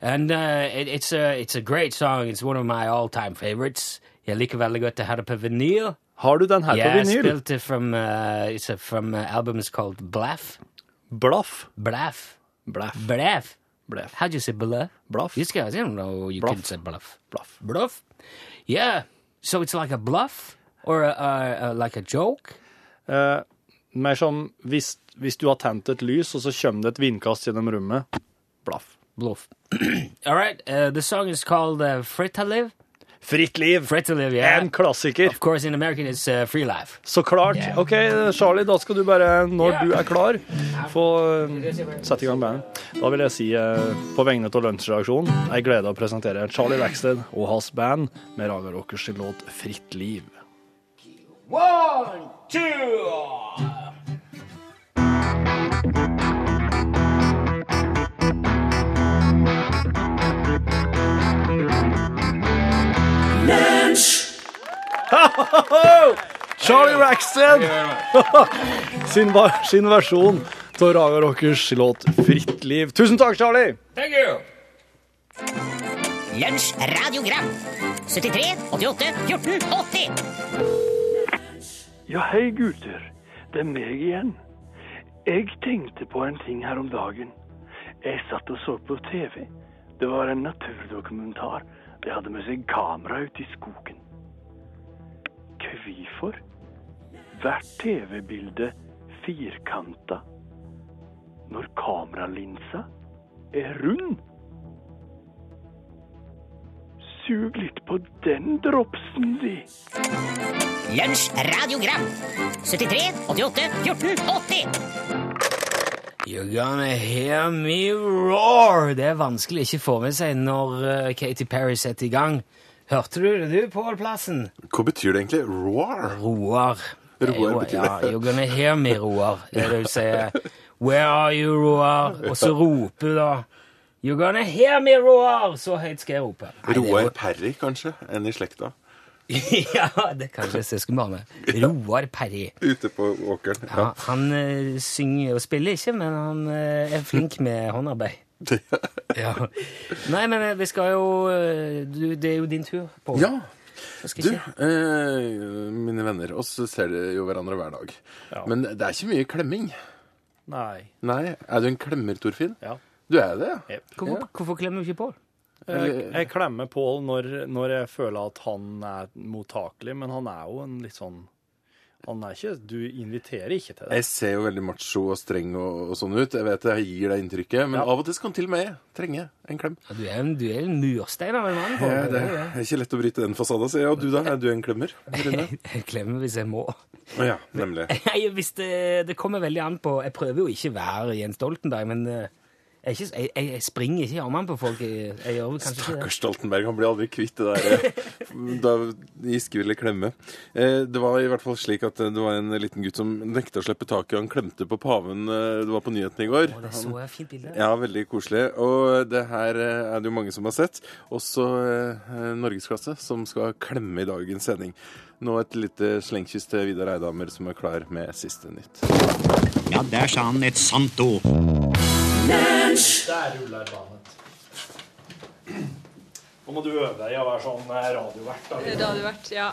[SPEAKER 2] And uh, it, it's a it's a great song. It's one of my all time favorites. Jeg liker veldig godt å ha det på vinyl.
[SPEAKER 3] Har du den her
[SPEAKER 2] Yeah,
[SPEAKER 3] på
[SPEAKER 2] I
[SPEAKER 3] vinyl?
[SPEAKER 2] spilt it from uh, it's a, from uh, album is called Blaff.
[SPEAKER 3] Blaff.
[SPEAKER 2] Blaff.
[SPEAKER 3] Blaff.
[SPEAKER 2] Blaff.
[SPEAKER 3] Blaff.
[SPEAKER 2] How'd you say bluff?
[SPEAKER 3] Bluff.
[SPEAKER 2] These guys, I don't know. You
[SPEAKER 3] Bluff.
[SPEAKER 2] couldn't say bluff.
[SPEAKER 3] Blaff.
[SPEAKER 2] Bluff. Yeah. So it's like a bluff or a, a, a, like a joke.
[SPEAKER 3] Eh, mer som hvis, hvis du har tent et lys, og så kommer det et vindkast gjennom rommet. Blaff.
[SPEAKER 2] Bluff. All right. Uh, the song is called uh, Frittalive.
[SPEAKER 3] Fritt liv!
[SPEAKER 2] Frittalive. Yeah.
[SPEAKER 3] En klassiker.
[SPEAKER 2] of course, in American, it's uh, free life.
[SPEAKER 3] Så klart.
[SPEAKER 2] Yeah.
[SPEAKER 3] OK, Charlie, da skal du bare, når
[SPEAKER 2] Yeah.
[SPEAKER 3] du er klar, få eh, sette i gang bandet. Da vil jeg si eh, på vegne av Lunsjredaksjonen ei glede å presentere Charlie Rackstead og hans band med Raga Rockers sin låt 'Fritt liv'.
[SPEAKER 2] One, two.
[SPEAKER 3] Charlie Rackstead sin, va- sin versjon av Raga Rockers sin låt 'Fritt liv'. Tusen takk, Charlie!
[SPEAKER 2] Thank you.
[SPEAKER 4] Lunsj radiogram 73 88 14 80
[SPEAKER 6] Ja, hei gutter. Det er meg igjen. Jeg tenkte på en ting her om dagen. Jeg satt og så på TV. Det var en naturdokumentar. De hadde med seg kamera ute i skogen. Hvorfor? Hvert TV-bilde firkanta. Når kameralinsa er rund. Sug litt på den dropsen, de.
[SPEAKER 4] Lunsj radiogram 73 88 14 80
[SPEAKER 2] You're gonna hear me roar. Det er vanskelig å ikke få med seg når eh, Katy Perry setter i gang. Hørte du det, du, Pål Plassen?
[SPEAKER 7] Hva betyr det egentlig? Roar?
[SPEAKER 2] Roar.
[SPEAKER 7] Roar
[SPEAKER 2] Jo,
[SPEAKER 7] betyr
[SPEAKER 2] ja,
[SPEAKER 7] det.
[SPEAKER 2] You're gonna hear me, Roar. Det er det du sier. Where are you, Roar? Og så roper du da. You're gonna hear me, Roar! Så høyt skal jeg rope. Nei, det er
[SPEAKER 7] Roar Perry, kanskje? En i slekta?
[SPEAKER 2] jo- ja, det kan jeg søskenbarn med. Roar Perry.
[SPEAKER 7] Ute på åkeren?
[SPEAKER 2] Ja, han eh, synger og spiller ikke, men han eh, er flink med håndarbeid. Ja. Nei, men eh, vi skal jo eh, du, Det er jo din tur. På.
[SPEAKER 7] ja.
[SPEAKER 2] Jeg skal
[SPEAKER 7] Du,
[SPEAKER 2] ikke-
[SPEAKER 7] eh, mine venner, oss ser det jo hverandre hver dag. Men det er ikke mye klemming.
[SPEAKER 3] Nei.
[SPEAKER 7] Nei, er du en klemmer, Torfinn?
[SPEAKER 3] Ja.
[SPEAKER 7] Du er det, ja?
[SPEAKER 3] Yep.
[SPEAKER 2] Hvorfor, hvorfor klemmer du ikke på?
[SPEAKER 3] Jeg, jeg klemmer Pål når, når jeg føler at han er mottakelig, men han er jo en litt sånn Han er ikke Du inviterer ikke til det.
[SPEAKER 7] Jeg ser jo veldig macho og streng og, og sånn ut. Jeg vet jeg gir deg inntrykket, men av og til skal han til og med trenge en klem.
[SPEAKER 2] Ja, du er en, du er en murstein av en mann. Pål.
[SPEAKER 7] Ja, det er ikke lett å bryte den fasaden, sier jeg. Og du da, er du en klemmer? Rune?
[SPEAKER 2] Jeg klemmer hvis jeg må.
[SPEAKER 7] Å ja, nemlig.
[SPEAKER 2] Nei, hvis det, det kommer veldig an på Jeg prøver jo ikke å være Jens Stoltenberg, men eh, jeg, er ikke, jeg, jeg- jeg springer ikke i armene på folk. Jeg, jeg gjør vel kanskje ikke det.
[SPEAKER 7] Stakkars Stoltenberg, han blir aldri kvitt det der eh, da Giske ville klemme. Eh, Det var i hvert fall slik at eh, det var en liten gutt som nekta å slippe taket. Han klemte på paven. eh, Det var på nyhetene i går.
[SPEAKER 2] Å, det så jeg fint bilde.
[SPEAKER 7] Ja, veldig koselig. Og det her eh, er det jo mange som har sett. Også eh, norgesklasse, som skal klemme i dagens sending. Nå et lite slengkyss til Vidar Eidhammer, som er klar med siste nytt.
[SPEAKER 8] Ja, der sa han et sant ord.
[SPEAKER 3] Der ruller banet. Nå må du øve deg i å være sånn radiovert.
[SPEAKER 1] Det hadde vært, ja.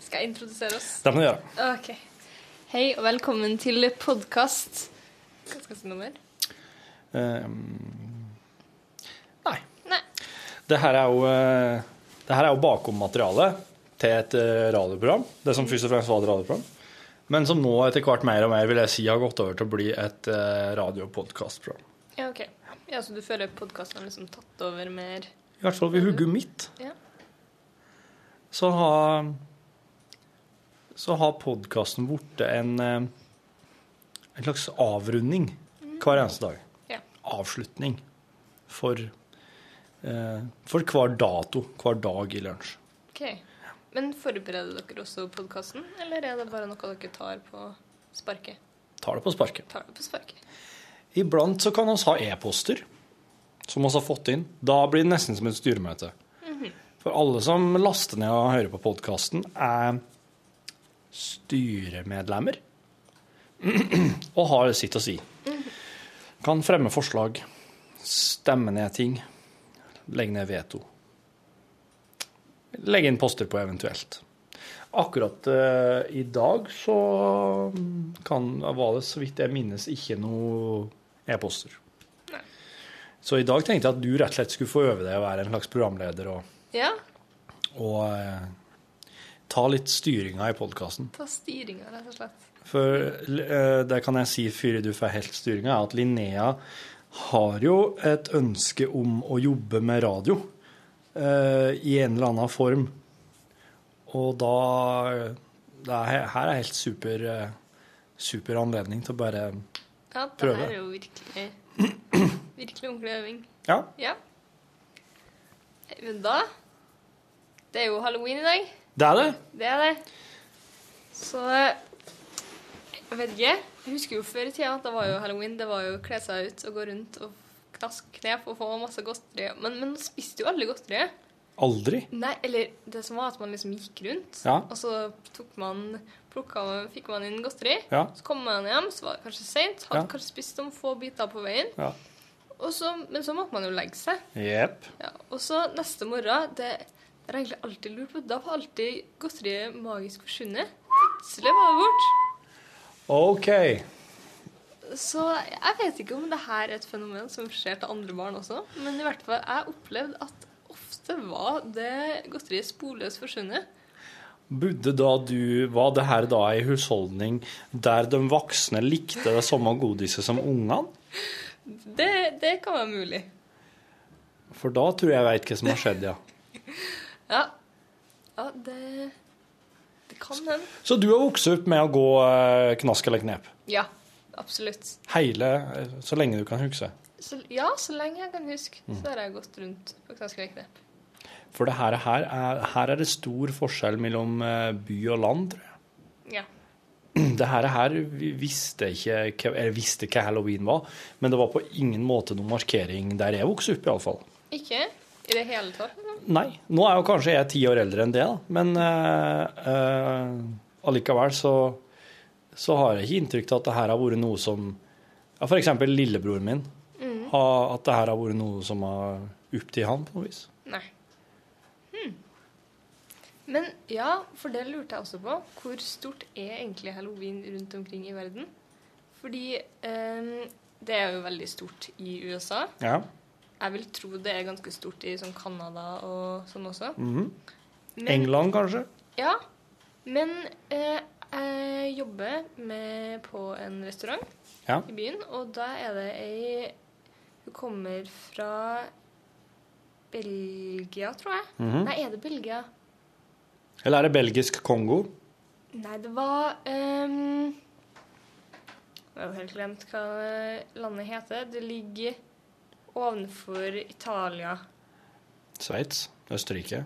[SPEAKER 1] Skal jeg introdusere oss?
[SPEAKER 3] Det må du gjøre.
[SPEAKER 1] Ok. Hei og velkommen til podkast Hva skal jeg si nummer?
[SPEAKER 3] Ehm, nei.
[SPEAKER 1] Nei.
[SPEAKER 3] Det her er jo, eh, det her er jo bakommateriale til et eh, radioprogram. Det som først og fremst var et radioprogram. Men som nå etter hvert mer og mer vil jeg si har gått over til å bli et eh, radiopodkastprogram.
[SPEAKER 1] Ja, ok. Ja, Så du føler podkasten har liksom tatt over mer
[SPEAKER 3] I hvert fall ved hugget mitt.
[SPEAKER 1] Ja.
[SPEAKER 3] Så har Så har podkasten blitt en eh, En slags avrunding hver eneste dag.
[SPEAKER 1] Ja.
[SPEAKER 3] Avslutning for eh, For hver dato, hver dag i lunsj.
[SPEAKER 1] OK. Men forbereder dere også podkasten, eller er det bare noe dere tar på sparket?
[SPEAKER 3] Tar det på sparket.
[SPEAKER 1] Tar det på sparket.
[SPEAKER 3] Iblant så kan vi ha e-poster som vi har fått inn. Da blir det nesten som et styremøte. For alle som laster ned og hører på podkasten, er styremedlemmer og har sitt å si. Kan fremme forslag, stemme ned ting, legge ned veto. Legge inn poster på eventuelt. Akkurat eh, i dag så kan, var det, så vidt jeg minnes, ikke noe e-poster. Så i dag tenkte jeg at du rett og slett skulle få øve deg å være en slags programleder og,
[SPEAKER 1] Ja,
[SPEAKER 3] og eh, ta litt styringa i podkasten.
[SPEAKER 1] ta styringa, rett og slett.
[SPEAKER 3] For eh, det kan jeg si før du får helt styringa, er at Linnea har jo et ønske om å jobbe med radio eh, i en eller annen form. Og da det er, Her er helt super, eh, super anledning til å bare
[SPEAKER 1] Ja, det
[SPEAKER 3] Prøve.
[SPEAKER 1] her er jo virkelig Virkelig ordentlig øving.
[SPEAKER 3] Ja.
[SPEAKER 1] Ja. Men da Det er jo halloween i dag.
[SPEAKER 3] Det er det.
[SPEAKER 1] Det er det. Så Jeg vet ikke. Jeg husker jo før i tida at det var jo halloween. Det var jo å kle seg ut og gå rundt og knaske knep og få masse godteri. Men, men nå spiste jo alle godteriet.
[SPEAKER 3] Aldri.
[SPEAKER 1] Nei, eller det som var at man liksom gikk rundt,
[SPEAKER 3] Ja.
[SPEAKER 1] og så tok man, plukka, fikk man inn godteri.
[SPEAKER 3] Ja.
[SPEAKER 1] Så kom man hjem, så var det kanskje seint, hadde
[SPEAKER 3] Ja.
[SPEAKER 1] kanskje spist noen få biter på veien.
[SPEAKER 3] Ja.
[SPEAKER 1] Og så, men så måtte man jo legge seg.
[SPEAKER 3] Jepp.
[SPEAKER 1] Ja, og så neste morgen Det det har jeg egentlig alltid lurt på. Da var alltid godteriet magisk forsvunnet. Plutselig var det borte.
[SPEAKER 3] OK.
[SPEAKER 1] Så jeg vet ikke om det her er et fenomen som skjer til andre barn også, men i hvert fall jeg opplevde at ofte var det godteriet sporløst forsvunnet.
[SPEAKER 3] Burde da du Var det her da ei husholdning der de voksne likte det samme godiset som ungene?
[SPEAKER 1] Det, det kan være mulig.
[SPEAKER 3] For da tror jeg jeg veit hva som har skjedd, ja.
[SPEAKER 1] Ja, ja det, det kan hende.
[SPEAKER 3] Så du har vokst opp med å gå eh, knask eller knep?
[SPEAKER 1] Ja, absolutt.
[SPEAKER 3] Hele eh, Så lenge du kan huske.
[SPEAKER 1] Så, ja, så lenge jeg kan huske, så har jeg gått rundt på knaskeleknep.
[SPEAKER 3] For det her, her, er, her er det stor forskjell mellom eh, by og land, tror jeg.
[SPEAKER 1] Ja.
[SPEAKER 3] Det her, her vi visste ikke hva- eller visste hva halloween var, men det var på ingen måte noen markering der jeg vokste opp, iallfall.
[SPEAKER 1] Ikke i det hele tatt? liksom?
[SPEAKER 3] Nei. Nå er jo kanskje jeg ti år eldre enn det, da. men eh, eh, allikevel så, så har jeg ikke inntrykk av at det her har vært noe som ja, For eksempel lillebroren min. Har, at det her har vært noe som har opp til han, på noe vis.
[SPEAKER 1] Nei. Hmm. Men ja, for det lurte jeg også på. Hvor stort er egentlig halloween rundt omkring i verden? Fordi eh, det er jo veldig stort i USA.
[SPEAKER 3] Ja.
[SPEAKER 1] Jeg vil tro det er ganske stort i sånn Canada og sånn også. Men,
[SPEAKER 3] England, kanskje?
[SPEAKER 1] ja, men eh, jeg jobber med, på en restaurant
[SPEAKER 3] Ja.
[SPEAKER 1] i byen, og da er det ei Hun kommer fra Belgia, tror jeg. Nei, er det Belgia?
[SPEAKER 3] Eller er det belgisk Kongo?
[SPEAKER 1] Nei, det var ehm, Jeg har jo helt glemt hva landet heter. Det ligger ovenfor Italia.
[SPEAKER 3] Sveits? Østerrike?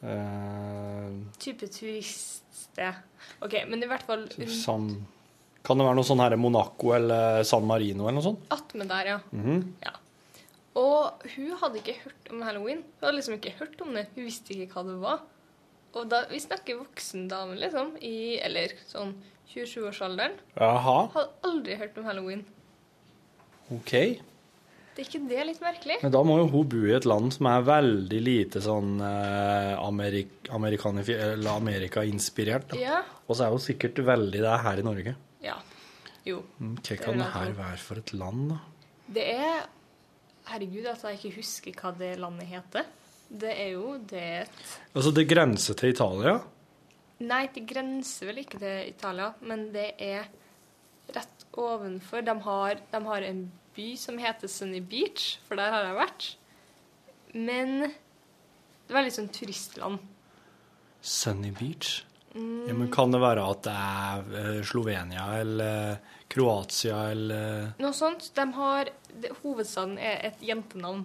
[SPEAKER 3] Eh,
[SPEAKER 1] Type turiststed. OK, men i hvert fall rundt
[SPEAKER 3] San Kan det være noe sånn her Monaco eller San Marino eller noe sånt?
[SPEAKER 1] attmed der, ja. ja. Og hun hadde ikke hørt om halloween. Hun hadde liksom ikke hørt om det. Hun visste ikke hva det var. Og da, vi snakker voksen dame, liksom, i, eller sånn 27-årsalderen,
[SPEAKER 3] Jaha,
[SPEAKER 1] hadde aldri hørt om halloween.
[SPEAKER 3] OK.
[SPEAKER 1] Det er ikke det litt merkelig?
[SPEAKER 3] Men da må jo hun bo i et land som er veldig lite sånn eh, Amerik amerikanifi- eller Amerika-inspirert. da.
[SPEAKER 1] Ja.
[SPEAKER 3] Og så er hun sikkert veldig det her i Norge.
[SPEAKER 1] Ja. Jo.
[SPEAKER 3] Mm, Hva
[SPEAKER 1] Det
[SPEAKER 3] kan
[SPEAKER 1] vil
[SPEAKER 3] det
[SPEAKER 1] jeg
[SPEAKER 3] her
[SPEAKER 1] tro.
[SPEAKER 3] være for et land, da?
[SPEAKER 1] Det er Herregud, at jeg ikke husker hva det landet heter. Det er jo det
[SPEAKER 3] Altså, det grenser til Italia.
[SPEAKER 1] Nei, det grenser vel ikke til Italia, men det er rett ovenfor. De har, de har en by som heter Sunny Beach, for der har jeg vært. Men det var litt sånn turistland.
[SPEAKER 3] Sunny Beach. Ja, men kan det være at det er eh, Slovenia eller eh, Kroatia eller eh,
[SPEAKER 1] Noe sånt. De har det, Hovedstaden er et jentenavn.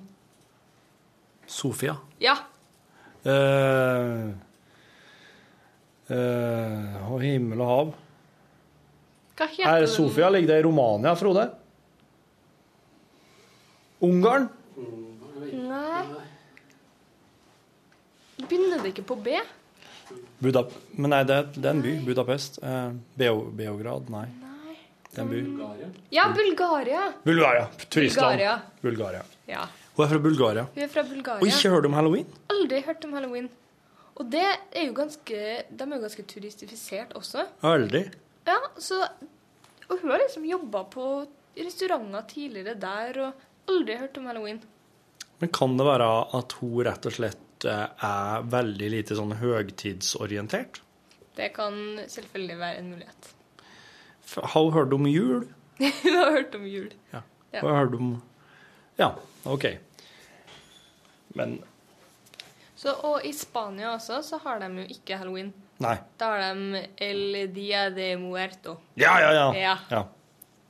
[SPEAKER 3] Sofia?
[SPEAKER 1] Ja.
[SPEAKER 3] Eh, eh, og himmel og hav.
[SPEAKER 1] Hva heter
[SPEAKER 3] Er
[SPEAKER 1] den?
[SPEAKER 3] Sofia ligger det i Romania, Frode? Ungarn?
[SPEAKER 1] Nei. Begynner det ikke på B?
[SPEAKER 3] Budap men nei, det, det er en by. Budapest. Eh, Beo Beograd? Nei. Det er en by.
[SPEAKER 1] Ja, Bulgaria.
[SPEAKER 3] Bulgaria. Turistland.
[SPEAKER 1] Bulgaria.
[SPEAKER 3] Bulgaria.
[SPEAKER 1] Ja.
[SPEAKER 3] Hun er fra Bulgaria.
[SPEAKER 1] Hun er fra
[SPEAKER 3] Og
[SPEAKER 1] Bulgaria.
[SPEAKER 3] ikke hørt om halloween?
[SPEAKER 1] Aldri hørt om halloween. Og det er jo ganske, de er jo ganske turistifisert også.
[SPEAKER 3] Aldri.
[SPEAKER 1] Ja, så, og hun har liksom jobba på restauranter tidligere der, og aldri hørt om halloween.
[SPEAKER 3] Men kan det være at hun rett og slett eh, er veldig lite sånn høgtidsorientert?
[SPEAKER 1] Det kan selvfølgelig være en mulighet.
[SPEAKER 3] F- Har hun hørt om jul?
[SPEAKER 1] Hun har hørt om jul. Ja.
[SPEAKER 3] Har hun hørt om Ja, OK. Men
[SPEAKER 1] Så, og i Spania også så har de jo ikke halloween.
[SPEAKER 3] nei.
[SPEAKER 1] Da har de El Dia de Muerto.
[SPEAKER 3] Ja, ja, ja.
[SPEAKER 1] Ja.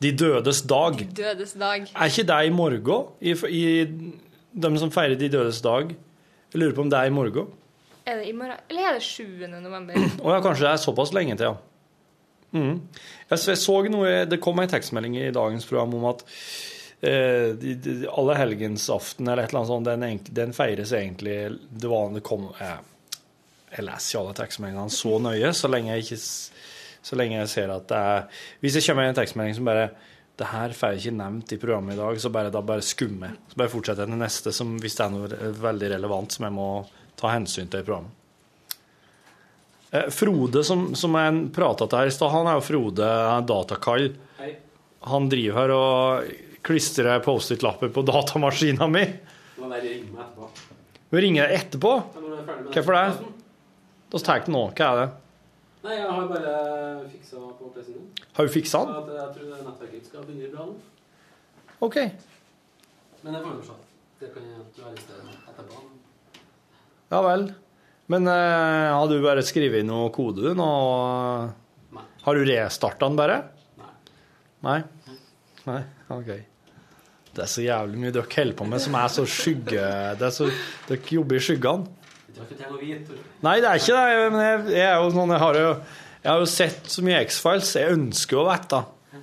[SPEAKER 3] De dødes dag.
[SPEAKER 1] De dødes dag.
[SPEAKER 3] Er ikke det i morgen? I, i De som feirer De dødes dag? Jeg lurer på om det er i morgen?
[SPEAKER 1] Er det i morgen? Eller er det 7. november?
[SPEAKER 3] Å ja, kanskje det er såpass lenge til, ja. Mm. Jeg, så, jeg så noe, Det kom en tekstmelding i dagens program om at eh, de, de, alle helgensaften eller et eller annet sånt, den, enk- den feires egentlig Det var det kom eh, Jeg leser ikke alle tekstmeldingene så nøye, så lenge jeg ikke s- så lenge jeg ser at det er Hvis det kommer en tekstmelding som bare det her får jeg ikke nevnt i programmet i dag, så bare, da bare skummer jeg. Så bare fortsetter jeg til neste, som, hvis det er noe re- veldig relevant som jeg må ta hensyn til i programmet. Eh, Frode, som, som jeg prata til her i stad, han er jo Frode Datakall. Han driver her og klistrer Post-It-lapper på datamaskina mi. Du ringer deg etterpå? Hvorfor det? Da tar jeg den nå. Hva er det?
[SPEAKER 9] Nei, jeg har bare fiksa på PC-en min.
[SPEAKER 3] Har du fiksa den?
[SPEAKER 9] At jeg tror nettverket skal begynne bra nå.
[SPEAKER 3] OK.
[SPEAKER 9] Men jeg får jo se. Det kan jeg realisere etterpå.
[SPEAKER 3] Ja vel. Men eh, har du bare skrevet inn noe kode, du? nå? Har du restarta den bare? Nei. Nei? Nei? OK. Det er så jævlig mye dere holder på med som er så skygge... Det er så, dere jobber i skyggene.
[SPEAKER 9] Det har ikke til å vite.
[SPEAKER 3] Nei, det er ikke det. jeg- Men jeg, jeg er jo sånn, jeg har jo, jeg har jo sett så mye X-Files. Jeg ønsker å vite, da.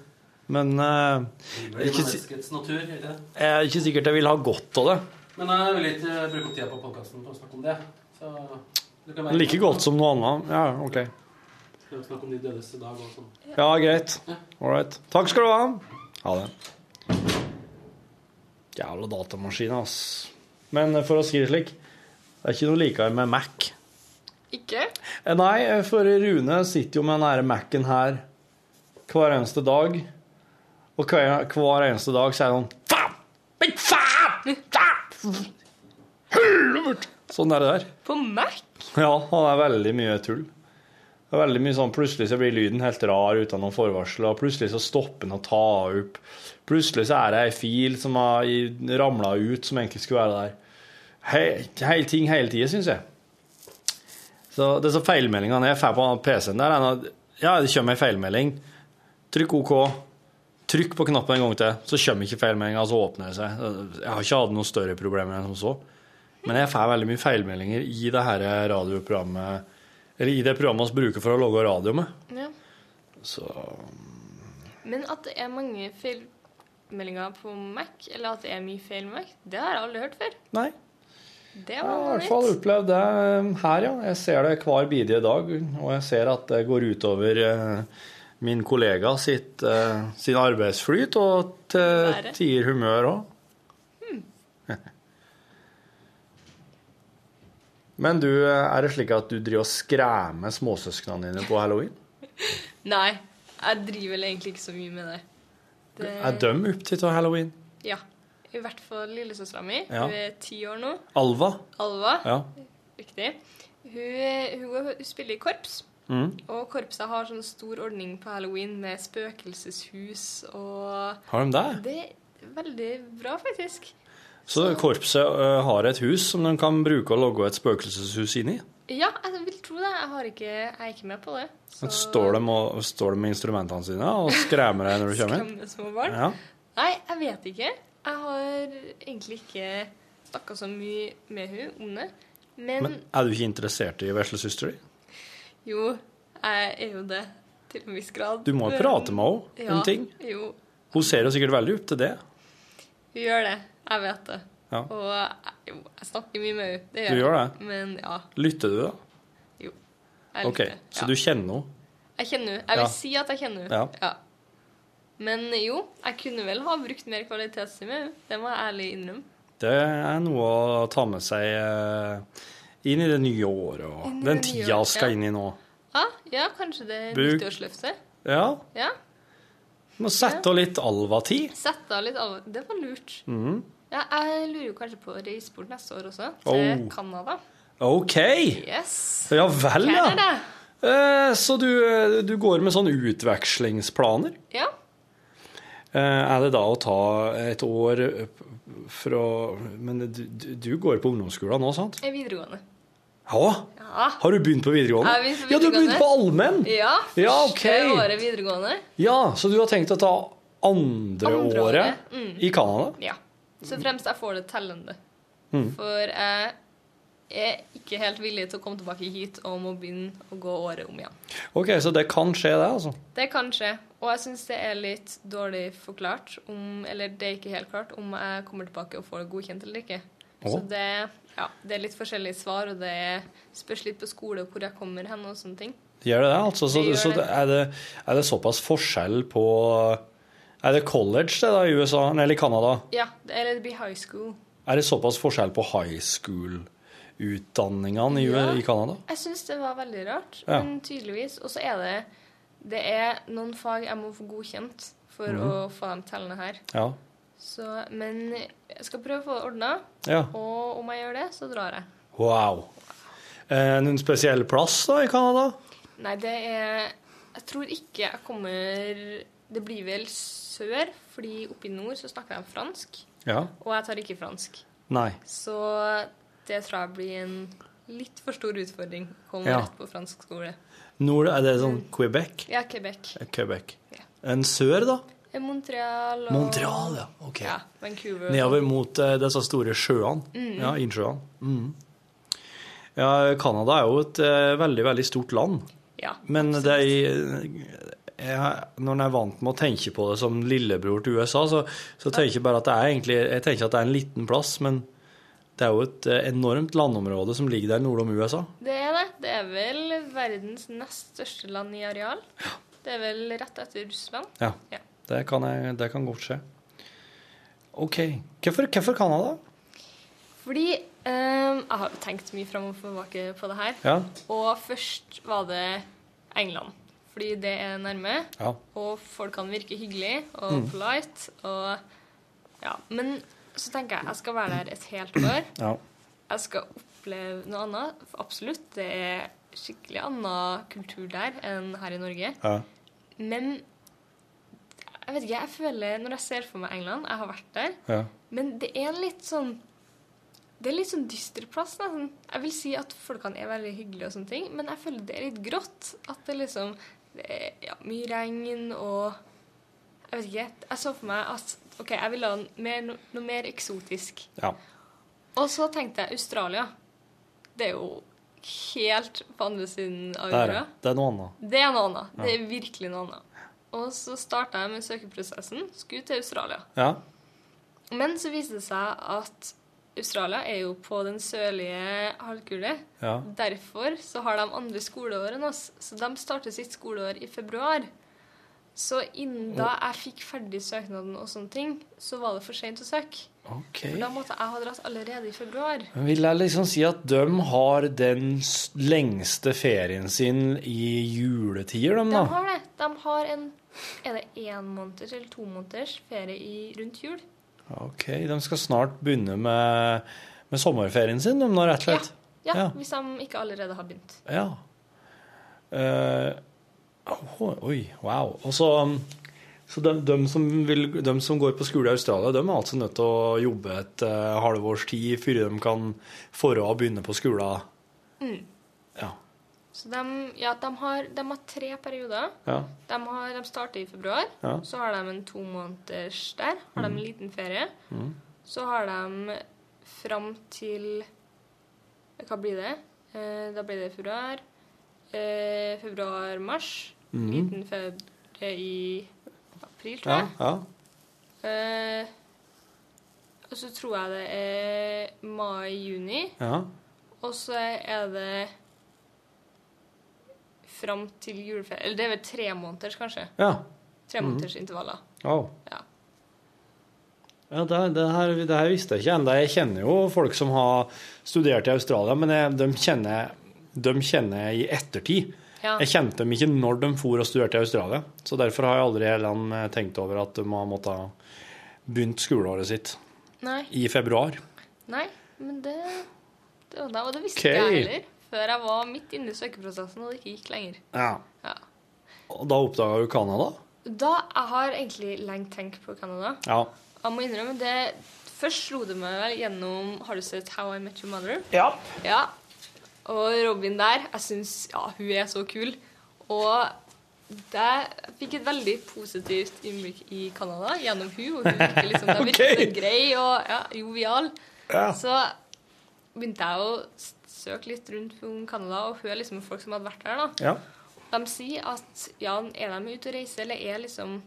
[SPEAKER 3] Men eh,
[SPEAKER 9] Det er
[SPEAKER 3] Ikke
[SPEAKER 9] ikke
[SPEAKER 3] si-
[SPEAKER 9] menneskets natur. Ikke? det?
[SPEAKER 3] jeg er ikke sikkert jeg vil ha godt av det.
[SPEAKER 9] Men jeg vil ikke bruke opp tida på podkasten på å snakke om det. Så du kan være-
[SPEAKER 3] Like godt som noe annet. Ja, ok.
[SPEAKER 9] Skal vi snakke om de dødes dag og sånn.
[SPEAKER 3] Ja, greit. All right. Takk skal du ha. Ha det. Jævla datamaskin, ass. Men eh, for å si det slik, det er ikke noe likere med Mac.
[SPEAKER 1] Ikke?
[SPEAKER 3] Eh, Nei, eh, for Rune sitter jo med den her Mac-en her hver eneste dag. Og hver, hver eneste dag så er han Faen! Men faen! Faen! Helvete! Sånn er det der.
[SPEAKER 1] På Mac?
[SPEAKER 3] Ja, han er veldig mye tull. Det er veldig mye sånn, Plutselig så blir lyden helt rar uten noen forvarsel, og plutselig så stopper den å ta opp. Plutselig så er det ei fil som har ramla ut, som egentlig skulle være der. He- Hele ting hele tida, syns jeg. Så disse feilmeldingene jeg får på PC-en der, er at ja, det kommer ei feilmelding. Trykk OK. Trykk på knappen en gang til, så kommer ikke feilmeldinga, så åpner det seg. Jeg har ikke hatt noen større problemer enn som så. Men jeg får veldig mye feilmeldinger i det her radioprogrammet Eller i det programmet vi bruker for å lage radio med.
[SPEAKER 1] Ja.
[SPEAKER 3] Så
[SPEAKER 1] Men at det er mange feilmeldinger på Mac, eller at det er mye feil med Mac, det har jeg aldri hørt før.
[SPEAKER 3] Nei.
[SPEAKER 1] Det
[SPEAKER 3] Jeg
[SPEAKER 1] var
[SPEAKER 3] har i
[SPEAKER 1] noe
[SPEAKER 3] hvert fall
[SPEAKER 1] nytt.
[SPEAKER 3] opplevd det um, her, ja. Jeg ser det hver bidige dag. Og jeg ser at det går utover eh, min kollega sitt, eh, sin arbeidsflyt og til
[SPEAKER 1] Været.
[SPEAKER 3] tider humør òg. Men du, eh, er det slik at du driver og skremmer småsøsknene dine på halloween?
[SPEAKER 1] Nei, jeg driver vel egentlig ikke så mye med det. det
[SPEAKER 3] Er de opptatt av halloween?
[SPEAKER 1] Ja. I hvert fall lillesøstera mi.
[SPEAKER 3] Ja.
[SPEAKER 1] Hun er ti år nå.
[SPEAKER 3] Alva?
[SPEAKER 1] Alva.
[SPEAKER 3] Ja.
[SPEAKER 1] Riktig. Hun, hun, hun spiller i korps.
[SPEAKER 3] Mm.
[SPEAKER 1] Og korpset har sånn stor ordning på halloween med spøkelseshus og
[SPEAKER 3] Har de det?
[SPEAKER 1] Det er veldig bra, faktisk.
[SPEAKER 3] Så korpset ø, har et hus som de kan bruke og logge et spøkelseshus inn i?
[SPEAKER 1] Ja, jeg vil tro det. Jeg, har ikke, jeg er ikke med på det.
[SPEAKER 3] Så står de, og, står de med instrumentene sine og skremmer deg når du kommer inn?
[SPEAKER 1] Skremme små barn.
[SPEAKER 3] Ja.
[SPEAKER 1] Nei, jeg vet ikke. Jeg har egentlig ikke snakka så mye med hun om det. Men,
[SPEAKER 3] Men er du ikke interessert i veslesøster di?
[SPEAKER 1] jo, jeg er jo det. Til en viss grad.
[SPEAKER 3] Du må jo
[SPEAKER 1] Men-
[SPEAKER 3] prate med henne
[SPEAKER 1] ja,
[SPEAKER 3] om ting.
[SPEAKER 1] Jo,
[SPEAKER 3] Hun ser jo sikkert veldig opp til det.
[SPEAKER 1] hun gjør det. Jeg vet det.
[SPEAKER 3] Ja.
[SPEAKER 1] Og jeg, jo, jeg snakker mye med henne. Det
[SPEAKER 3] Du
[SPEAKER 1] jeg.
[SPEAKER 3] gjør det?
[SPEAKER 1] Men ja.
[SPEAKER 3] Lytter du, da?
[SPEAKER 1] Jo. Jeg
[SPEAKER 3] Ok,
[SPEAKER 1] liker det.
[SPEAKER 3] Så du kjenner henne?
[SPEAKER 1] Jeg kjenner henne. Jeg vil
[SPEAKER 3] Ja.
[SPEAKER 1] si at jeg kjenner henne.
[SPEAKER 3] Ja.
[SPEAKER 1] Men jo, jeg kunne vel ha brukt mer kvalitetstid med henne. Det må jeg ærlig innrømme.
[SPEAKER 3] Det er noe å ta med seg eh, inn i det nye året og
[SPEAKER 1] Inn i
[SPEAKER 3] den
[SPEAKER 1] det nye
[SPEAKER 3] tida
[SPEAKER 1] året,
[SPEAKER 3] vi skal
[SPEAKER 1] ja.
[SPEAKER 3] inn i nå.
[SPEAKER 1] Ja, Ah, ja kanskje det er
[SPEAKER 3] Bruk-
[SPEAKER 1] nyttårsløftet.
[SPEAKER 3] Ja,
[SPEAKER 1] Ja.
[SPEAKER 3] må sette av litt alvatid.
[SPEAKER 1] Sett av litt alvor. Det var lurt.
[SPEAKER 3] Mm.
[SPEAKER 1] Ja, jeg lurer jo kanskje på å reise bort neste år også, til
[SPEAKER 3] Oh.
[SPEAKER 1] Canada.
[SPEAKER 3] OK!
[SPEAKER 1] Yes.
[SPEAKER 3] Ja vel, ja.
[SPEAKER 1] Canada.
[SPEAKER 3] Eh, Så du, eh, du går med sånne utvekslingsplaner.
[SPEAKER 1] Ja.
[SPEAKER 3] Eh, Er det da å ta et år eh, fra Men du, du du går på ungdomsskolen nå, sant?
[SPEAKER 1] er Videregående.
[SPEAKER 3] Ja?
[SPEAKER 1] Ja.
[SPEAKER 3] Har du begynt på videregående?
[SPEAKER 1] Er vi på
[SPEAKER 3] Ja, du har begynt
[SPEAKER 1] videregående?
[SPEAKER 3] på allmenn!
[SPEAKER 1] Ja,
[SPEAKER 3] Ja,
[SPEAKER 1] første
[SPEAKER 3] ok.
[SPEAKER 1] året videregående.
[SPEAKER 3] Ja, så du har tenkt å ta andre,
[SPEAKER 1] Andre året,
[SPEAKER 3] året
[SPEAKER 1] mm.
[SPEAKER 3] i Canada?
[SPEAKER 1] Ja. Så fremst jeg får det tellende.
[SPEAKER 3] Mm.
[SPEAKER 1] For jeg er ikke helt villig til å komme tilbake hit og må begynne å gå året om igjen.
[SPEAKER 3] OK, så det kan skje, det, altså.
[SPEAKER 1] Det kan skje, og jeg syns det er litt dårlig forklart om Eller det er ikke helt klart om jeg kommer tilbake og får det godkjent eller ikke. Så
[SPEAKER 3] Å.
[SPEAKER 1] det, ja, det er litt forskjellige svar, og det spørs litt på skole og hvor jeg kommer hen og sånne ting.
[SPEAKER 3] Gjør det det? Altså, så
[SPEAKER 1] Det gjør
[SPEAKER 3] så
[SPEAKER 1] det.
[SPEAKER 3] Er, det, er det såpass forskjell på Er det college det da i USA, eller i Canada?
[SPEAKER 1] Ja, det, eller det blir high school.
[SPEAKER 3] Er det såpass forskjell på high school-utdanningene i,
[SPEAKER 1] Ja.
[SPEAKER 3] i Canada?
[SPEAKER 1] Jeg syns det var veldig rart,
[SPEAKER 3] Ja.
[SPEAKER 1] men tydeligvis. Og så er det Det er noen fag jeg må få godkjent for
[SPEAKER 3] Mhm.
[SPEAKER 1] å få dem tellende her.
[SPEAKER 3] Ja.
[SPEAKER 1] Så, men jeg skal prøve å få det ordna,
[SPEAKER 3] ja.
[SPEAKER 1] og om jeg gjør det, så drar jeg.
[SPEAKER 3] Wow. Eh, noen spesiell plass da i Canada?
[SPEAKER 1] Nei, det er Jeg tror ikke jeg kommer Det blir vel sør, fordi oppe i nord så snakker de fransk,
[SPEAKER 3] Ja.
[SPEAKER 1] og jeg tar ikke fransk.
[SPEAKER 3] Nei.
[SPEAKER 1] Så det tror jeg blir en litt for stor utfordring å komme
[SPEAKER 3] Ja.
[SPEAKER 1] rett på fransk skole.
[SPEAKER 3] Nord, er det
[SPEAKER 1] Mm.
[SPEAKER 3] sånn Quebec? Eh,
[SPEAKER 1] Ja, Quebec. Eh,
[SPEAKER 3] Quebec. En sør, da?
[SPEAKER 1] Montreal og
[SPEAKER 3] Montreal, ja. Ok.
[SPEAKER 1] Ja, Vancouver.
[SPEAKER 3] Nedover mot eh, disse store sjøene.
[SPEAKER 1] Mm.
[SPEAKER 3] Ja, innsjøene. Mm. Ja, Canada er jo et eh, veldig, veldig stort land.
[SPEAKER 1] Ja.
[SPEAKER 3] Men det er, jeg, når en er vant med å tenke på det som lillebror til USA, så, så tenker jeg bare at det er egentlig Jeg tenker at det er en liten plass, men det er jo et eh, enormt landområde som ligger der nordom USA.
[SPEAKER 1] Det er det. Det er vel verdens nest største land i areal. Det er vel rett etter Russland.
[SPEAKER 3] Ja.
[SPEAKER 1] Ja.
[SPEAKER 3] Det kan, jeg, det kan godt skje. OK. Hvorfor, hvorfor Canada?
[SPEAKER 1] Fordi ehm, jeg har jo tenkt mye fram og tilbake på det her.
[SPEAKER 3] Ja.
[SPEAKER 1] Og først var det England. Fordi det er nærme,
[SPEAKER 3] Ja.
[SPEAKER 1] og folkene virker hyggelige og
[SPEAKER 3] Mm.
[SPEAKER 1] polite. Og, ja. Men så tenker jeg jeg skal være der et helt år.
[SPEAKER 3] ja.
[SPEAKER 1] Jeg skal oppleve noe annet. For absolutt, det er skikkelig annen kultur der enn her i Norge.
[SPEAKER 3] ja.
[SPEAKER 1] Men jeg vet ikke, jeg føler når jeg ser for meg England Jeg har vært der.
[SPEAKER 3] ja.
[SPEAKER 1] Men det er en litt sånn Det er en litt sånn dyster plass, nesten. Jeg vil si at folkene er veldig hyggelige og sånne ting, men jeg føler det er litt grått. At det liksom Det er ja, mye regn og Jeg vet ikke. Jeg så for meg at OK, jeg ville ha en mer, no, noe mer eksotisk.
[SPEAKER 3] Ja.
[SPEAKER 1] Og så tenkte jeg Australia. Det er jo helt på andre siden av
[SPEAKER 3] Det er det.
[SPEAKER 1] jorda.
[SPEAKER 3] Det er noe annet.
[SPEAKER 1] Det er noe annet. Det
[SPEAKER 3] Ja.
[SPEAKER 1] er virkelig noe annet. Og så starta jeg med søkeprosessen. Skulle til Australia.
[SPEAKER 3] Ja.
[SPEAKER 1] Men så viste det seg at Australia er jo på den sørlige halvkule.
[SPEAKER 3] Ja.
[SPEAKER 1] Derfor så har de andre skoleår enn oss. Så de starter sitt skoleår i februar. Så innen da jeg fikk ferdig søknaden og sånne ting, så var det for seint å søke.
[SPEAKER 3] Ok.
[SPEAKER 1] For da måtte jeg ha dratt allerede i februar.
[SPEAKER 3] Men Vil jeg liksom si at de har den s- lengste ferien sin i juletider, de
[SPEAKER 1] De
[SPEAKER 3] da?
[SPEAKER 1] har det. De har en Er det én måneders eller to måneders ferie i, rundt jul?
[SPEAKER 3] Ok, de skal snart begynne med, med sommerferien sin, de nå, rett og slett.
[SPEAKER 1] Ja,
[SPEAKER 3] Ja.
[SPEAKER 1] hvis de ikke allerede har begynt.
[SPEAKER 3] Ja. Eh, åh, oi, wow. Og så så de, de, som vil, de som går på skole i Australia, de er altså nødt til å jobbe et eh, halvårs tid før de kan forå å begynne på skolen.
[SPEAKER 1] Mm.
[SPEAKER 3] Ja.
[SPEAKER 1] Så de, ja, de, har, de har tre perioder.
[SPEAKER 3] Ja.
[SPEAKER 1] De, har, de starter i februar.
[SPEAKER 3] Ja.
[SPEAKER 1] Så har de en to måneders der. Har de en liten ferie.
[SPEAKER 3] Mm.
[SPEAKER 1] Så har de fram til Hva blir det? Eh, da blir det februar. Eh, Februar-mars.
[SPEAKER 3] Mhm.
[SPEAKER 1] Liten ferie i april, tror
[SPEAKER 3] Ja,
[SPEAKER 1] jeg.
[SPEAKER 3] ja.
[SPEAKER 1] Eh, og så tror jeg det er mai-juni.
[SPEAKER 3] Ja.
[SPEAKER 1] Og så er det fram til juleferie Eller det er vel tre måneders, kanskje.
[SPEAKER 3] ja. Mhm.
[SPEAKER 1] Tre måneders intervaller.
[SPEAKER 3] Wow. Ja, det, det, her, det her visste jeg ikke ennå. Jeg kjenner jo folk som har studert i Australia, men jeg, de, kjenner, de kjenner jeg i ettertid.
[SPEAKER 1] Ja.
[SPEAKER 3] Jeg kjente dem ikke når de for og studerte i Australia. Så derfor har jeg aldri heller eh, tenkt over at de har måttet begynt skoleåret sitt
[SPEAKER 1] Nei.
[SPEAKER 3] i februar.
[SPEAKER 1] Nei, men det, det var da, og det visste
[SPEAKER 3] Ok.
[SPEAKER 1] ikke jeg heller. Før jeg var midt inne i søkeprosessen, og det ikke gikk lenger.
[SPEAKER 3] Ja.
[SPEAKER 1] Ja.
[SPEAKER 3] Og da oppdaga du Canada?
[SPEAKER 1] Da jeg har egentlig lenge tenkt på Canada.
[SPEAKER 3] Ja.
[SPEAKER 1] Jeg må innrømme det. Først slo det meg vel gjennom Har du sett How I Met Your Mother?
[SPEAKER 3] Ja.
[SPEAKER 1] Ja. Og Robin der, jeg syns ja, hun er så kul. Og det jeg fikk et veldig positivt innblikk i Canada gjennom hun, og hun virker liksom, det virker
[SPEAKER 3] Ok.
[SPEAKER 1] så grei og ja, jovial.
[SPEAKER 3] Ja.
[SPEAKER 1] Så begynte jeg å s- søke litt rundt om Canada og høre liksom folk som hadde vært der. da.
[SPEAKER 3] Ja.
[SPEAKER 1] De sier at ja, er de ute og reiser, eller er liksom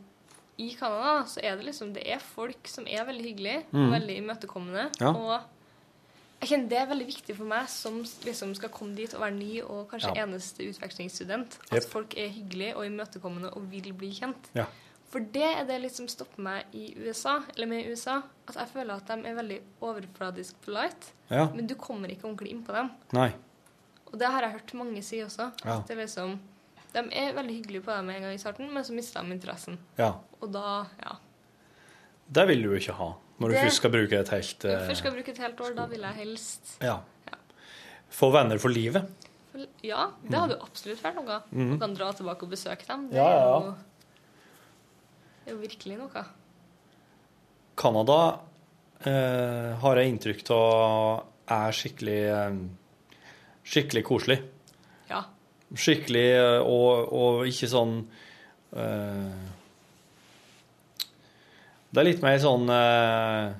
[SPEAKER 1] i Canada, så er det liksom Det er folk som er veldig hyggelige og
[SPEAKER 10] Mm.
[SPEAKER 1] veldig imøtekommende.
[SPEAKER 10] Ja.
[SPEAKER 1] Og jeg kjenner det er veldig viktig for meg som s- liksom skal komme dit og være ny og kanskje
[SPEAKER 10] Ja.
[SPEAKER 1] eneste utvekslingsstudent, at
[SPEAKER 10] Jepp.
[SPEAKER 1] folk er hyggelige og imøtekommende og vil bli kjent.
[SPEAKER 3] Ja.
[SPEAKER 1] For det er det liksom stopper meg i USA, eller med USA, at jeg føler at de er veldig overfladisk polite,
[SPEAKER 3] Ja.
[SPEAKER 1] men du kommer ikke ordentlig inn på dem.
[SPEAKER 3] Nei.
[SPEAKER 1] Og det har jeg hørt mange si også.
[SPEAKER 3] Ja.
[SPEAKER 1] At det er liksom, de er veldig hyggelige på deg med en gang i starten, men så mister de interessen.
[SPEAKER 3] Ja.
[SPEAKER 1] Og da, ja.
[SPEAKER 3] Det vil du jo ikke ha når du
[SPEAKER 1] Det-
[SPEAKER 3] først skal bruke et helt
[SPEAKER 1] Når
[SPEAKER 3] eh,
[SPEAKER 1] jeg først skal bruke et helt år, da vil jeg helst
[SPEAKER 3] Ja. Få venner for livet.
[SPEAKER 1] Ja, det hadde jo absolutt vært noe.
[SPEAKER 3] Mhm.
[SPEAKER 1] Du kan dra tilbake og besøke dem. Det
[SPEAKER 3] Ja,
[SPEAKER 1] er
[SPEAKER 3] ja, ja.
[SPEAKER 1] jo- Det er jo virkelig noe.
[SPEAKER 3] Canada eh, har jeg inntrykk av er skikkelig eh, skikkelig koselig.
[SPEAKER 1] Ja.
[SPEAKER 3] Skikkelig eh, og, og ikke sånn eh, Det er litt mer sånn eh,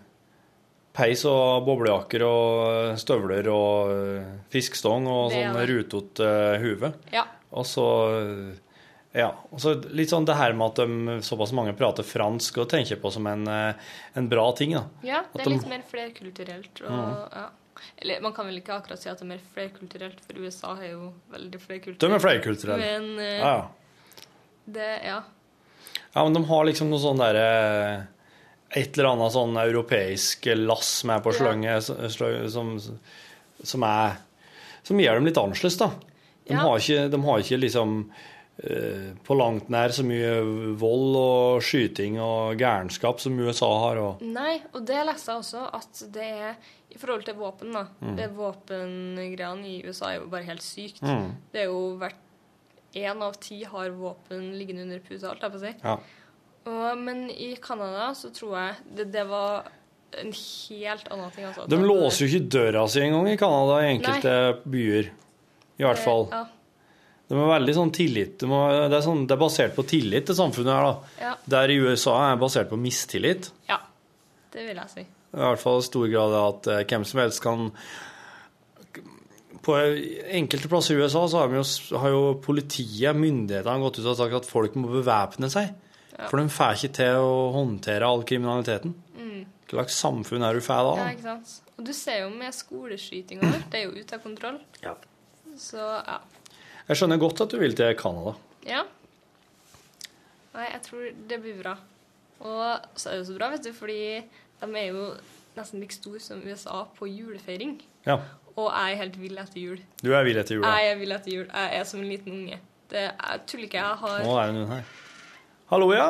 [SPEAKER 3] peis og boblejakker og eh, støvler og eh, fiskestong og
[SPEAKER 1] Det er
[SPEAKER 3] sånn
[SPEAKER 1] det.
[SPEAKER 3] rutete eh, hue.
[SPEAKER 1] Ja.
[SPEAKER 3] Og så ja, og så litt sånn det her med at de, såpass mange prater fransk og tenker på som en, eh, en bra ting. da.
[SPEAKER 1] Ja,
[SPEAKER 3] At
[SPEAKER 1] det er
[SPEAKER 3] de-
[SPEAKER 1] litt mer flerkulturelt. Og,
[SPEAKER 3] Mhm.
[SPEAKER 1] ja. Eller man kan vel ikke akkurat si at det er mer flerkulturelt, for USA er jo veldig flerkulturelt.
[SPEAKER 3] De er flerkulturelle.
[SPEAKER 1] Men eh,
[SPEAKER 3] Ja, ja.
[SPEAKER 1] det, ja.
[SPEAKER 3] ja, men de har liksom noe sånn derre Et eller annet sånn europeisk lass med på
[SPEAKER 1] Ja.
[SPEAKER 3] slønget s- slø- som, som er Som gjør dem litt annerledes, da. De,
[SPEAKER 1] Ja.
[SPEAKER 3] har ikke, de har ikke liksom eh, på langt nær så mye vold og skyting og gærenskap som USA har. Og,
[SPEAKER 1] Nei, og det leste jeg også, at det er i forhold til våpen, da.
[SPEAKER 3] Mm.
[SPEAKER 1] Det våpengreiene i USA er jo bare helt sykt.
[SPEAKER 3] Mm.
[SPEAKER 1] Det er jo hvert Én av ti har våpen liggende under puta, alt jeg på å si.
[SPEAKER 3] ja.
[SPEAKER 1] Og, men i Canada så tror jeg det, det var en helt annen ting. Altså,
[SPEAKER 3] De låser jo ikke døra si engang i Canada i enkelte byer. I hvert fall.
[SPEAKER 1] Eh, Ja.
[SPEAKER 3] De er veldig sånn tillit. De er, det, er sånn, det er basert på tillit til samfunnet her, da.
[SPEAKER 1] Ja.
[SPEAKER 3] Der i USA er det basert på mistillit.
[SPEAKER 1] ja. Det vil jeg si.
[SPEAKER 3] I hvert fall i stor grad at eh, hvem som helst kan På enkelte plasser i USA så har, vi jo, har jo politiet, myndighetene, gått ut og sagt at folk må bevæpne seg.
[SPEAKER 1] Ja.
[SPEAKER 3] For de får ikke til å håndtere all kriminaliteten.
[SPEAKER 1] Mm.
[SPEAKER 3] Hva slags samfunn er du får da?
[SPEAKER 1] Ja, ikke sant? Og du ser jo med skoleskyting og alt, det er jo ute av kontroll.
[SPEAKER 3] Ja.
[SPEAKER 1] Så ja.
[SPEAKER 3] Jeg skjønner godt at du vil til Canada.
[SPEAKER 1] ja. Nei, jeg tror det blir bra. Og så er det så bra, vet du, fordi de er jo nesten like store som USA på julefeiring.
[SPEAKER 3] Ja.
[SPEAKER 1] Og jeg er helt vill etter jul.
[SPEAKER 3] Du er vill etter jul, ja.
[SPEAKER 1] Jeg er vill etter jul. Jeg er som en liten unge. Det, jeg tuller ikke. Jeg har
[SPEAKER 3] Nå er det noen her. Hallo, ja.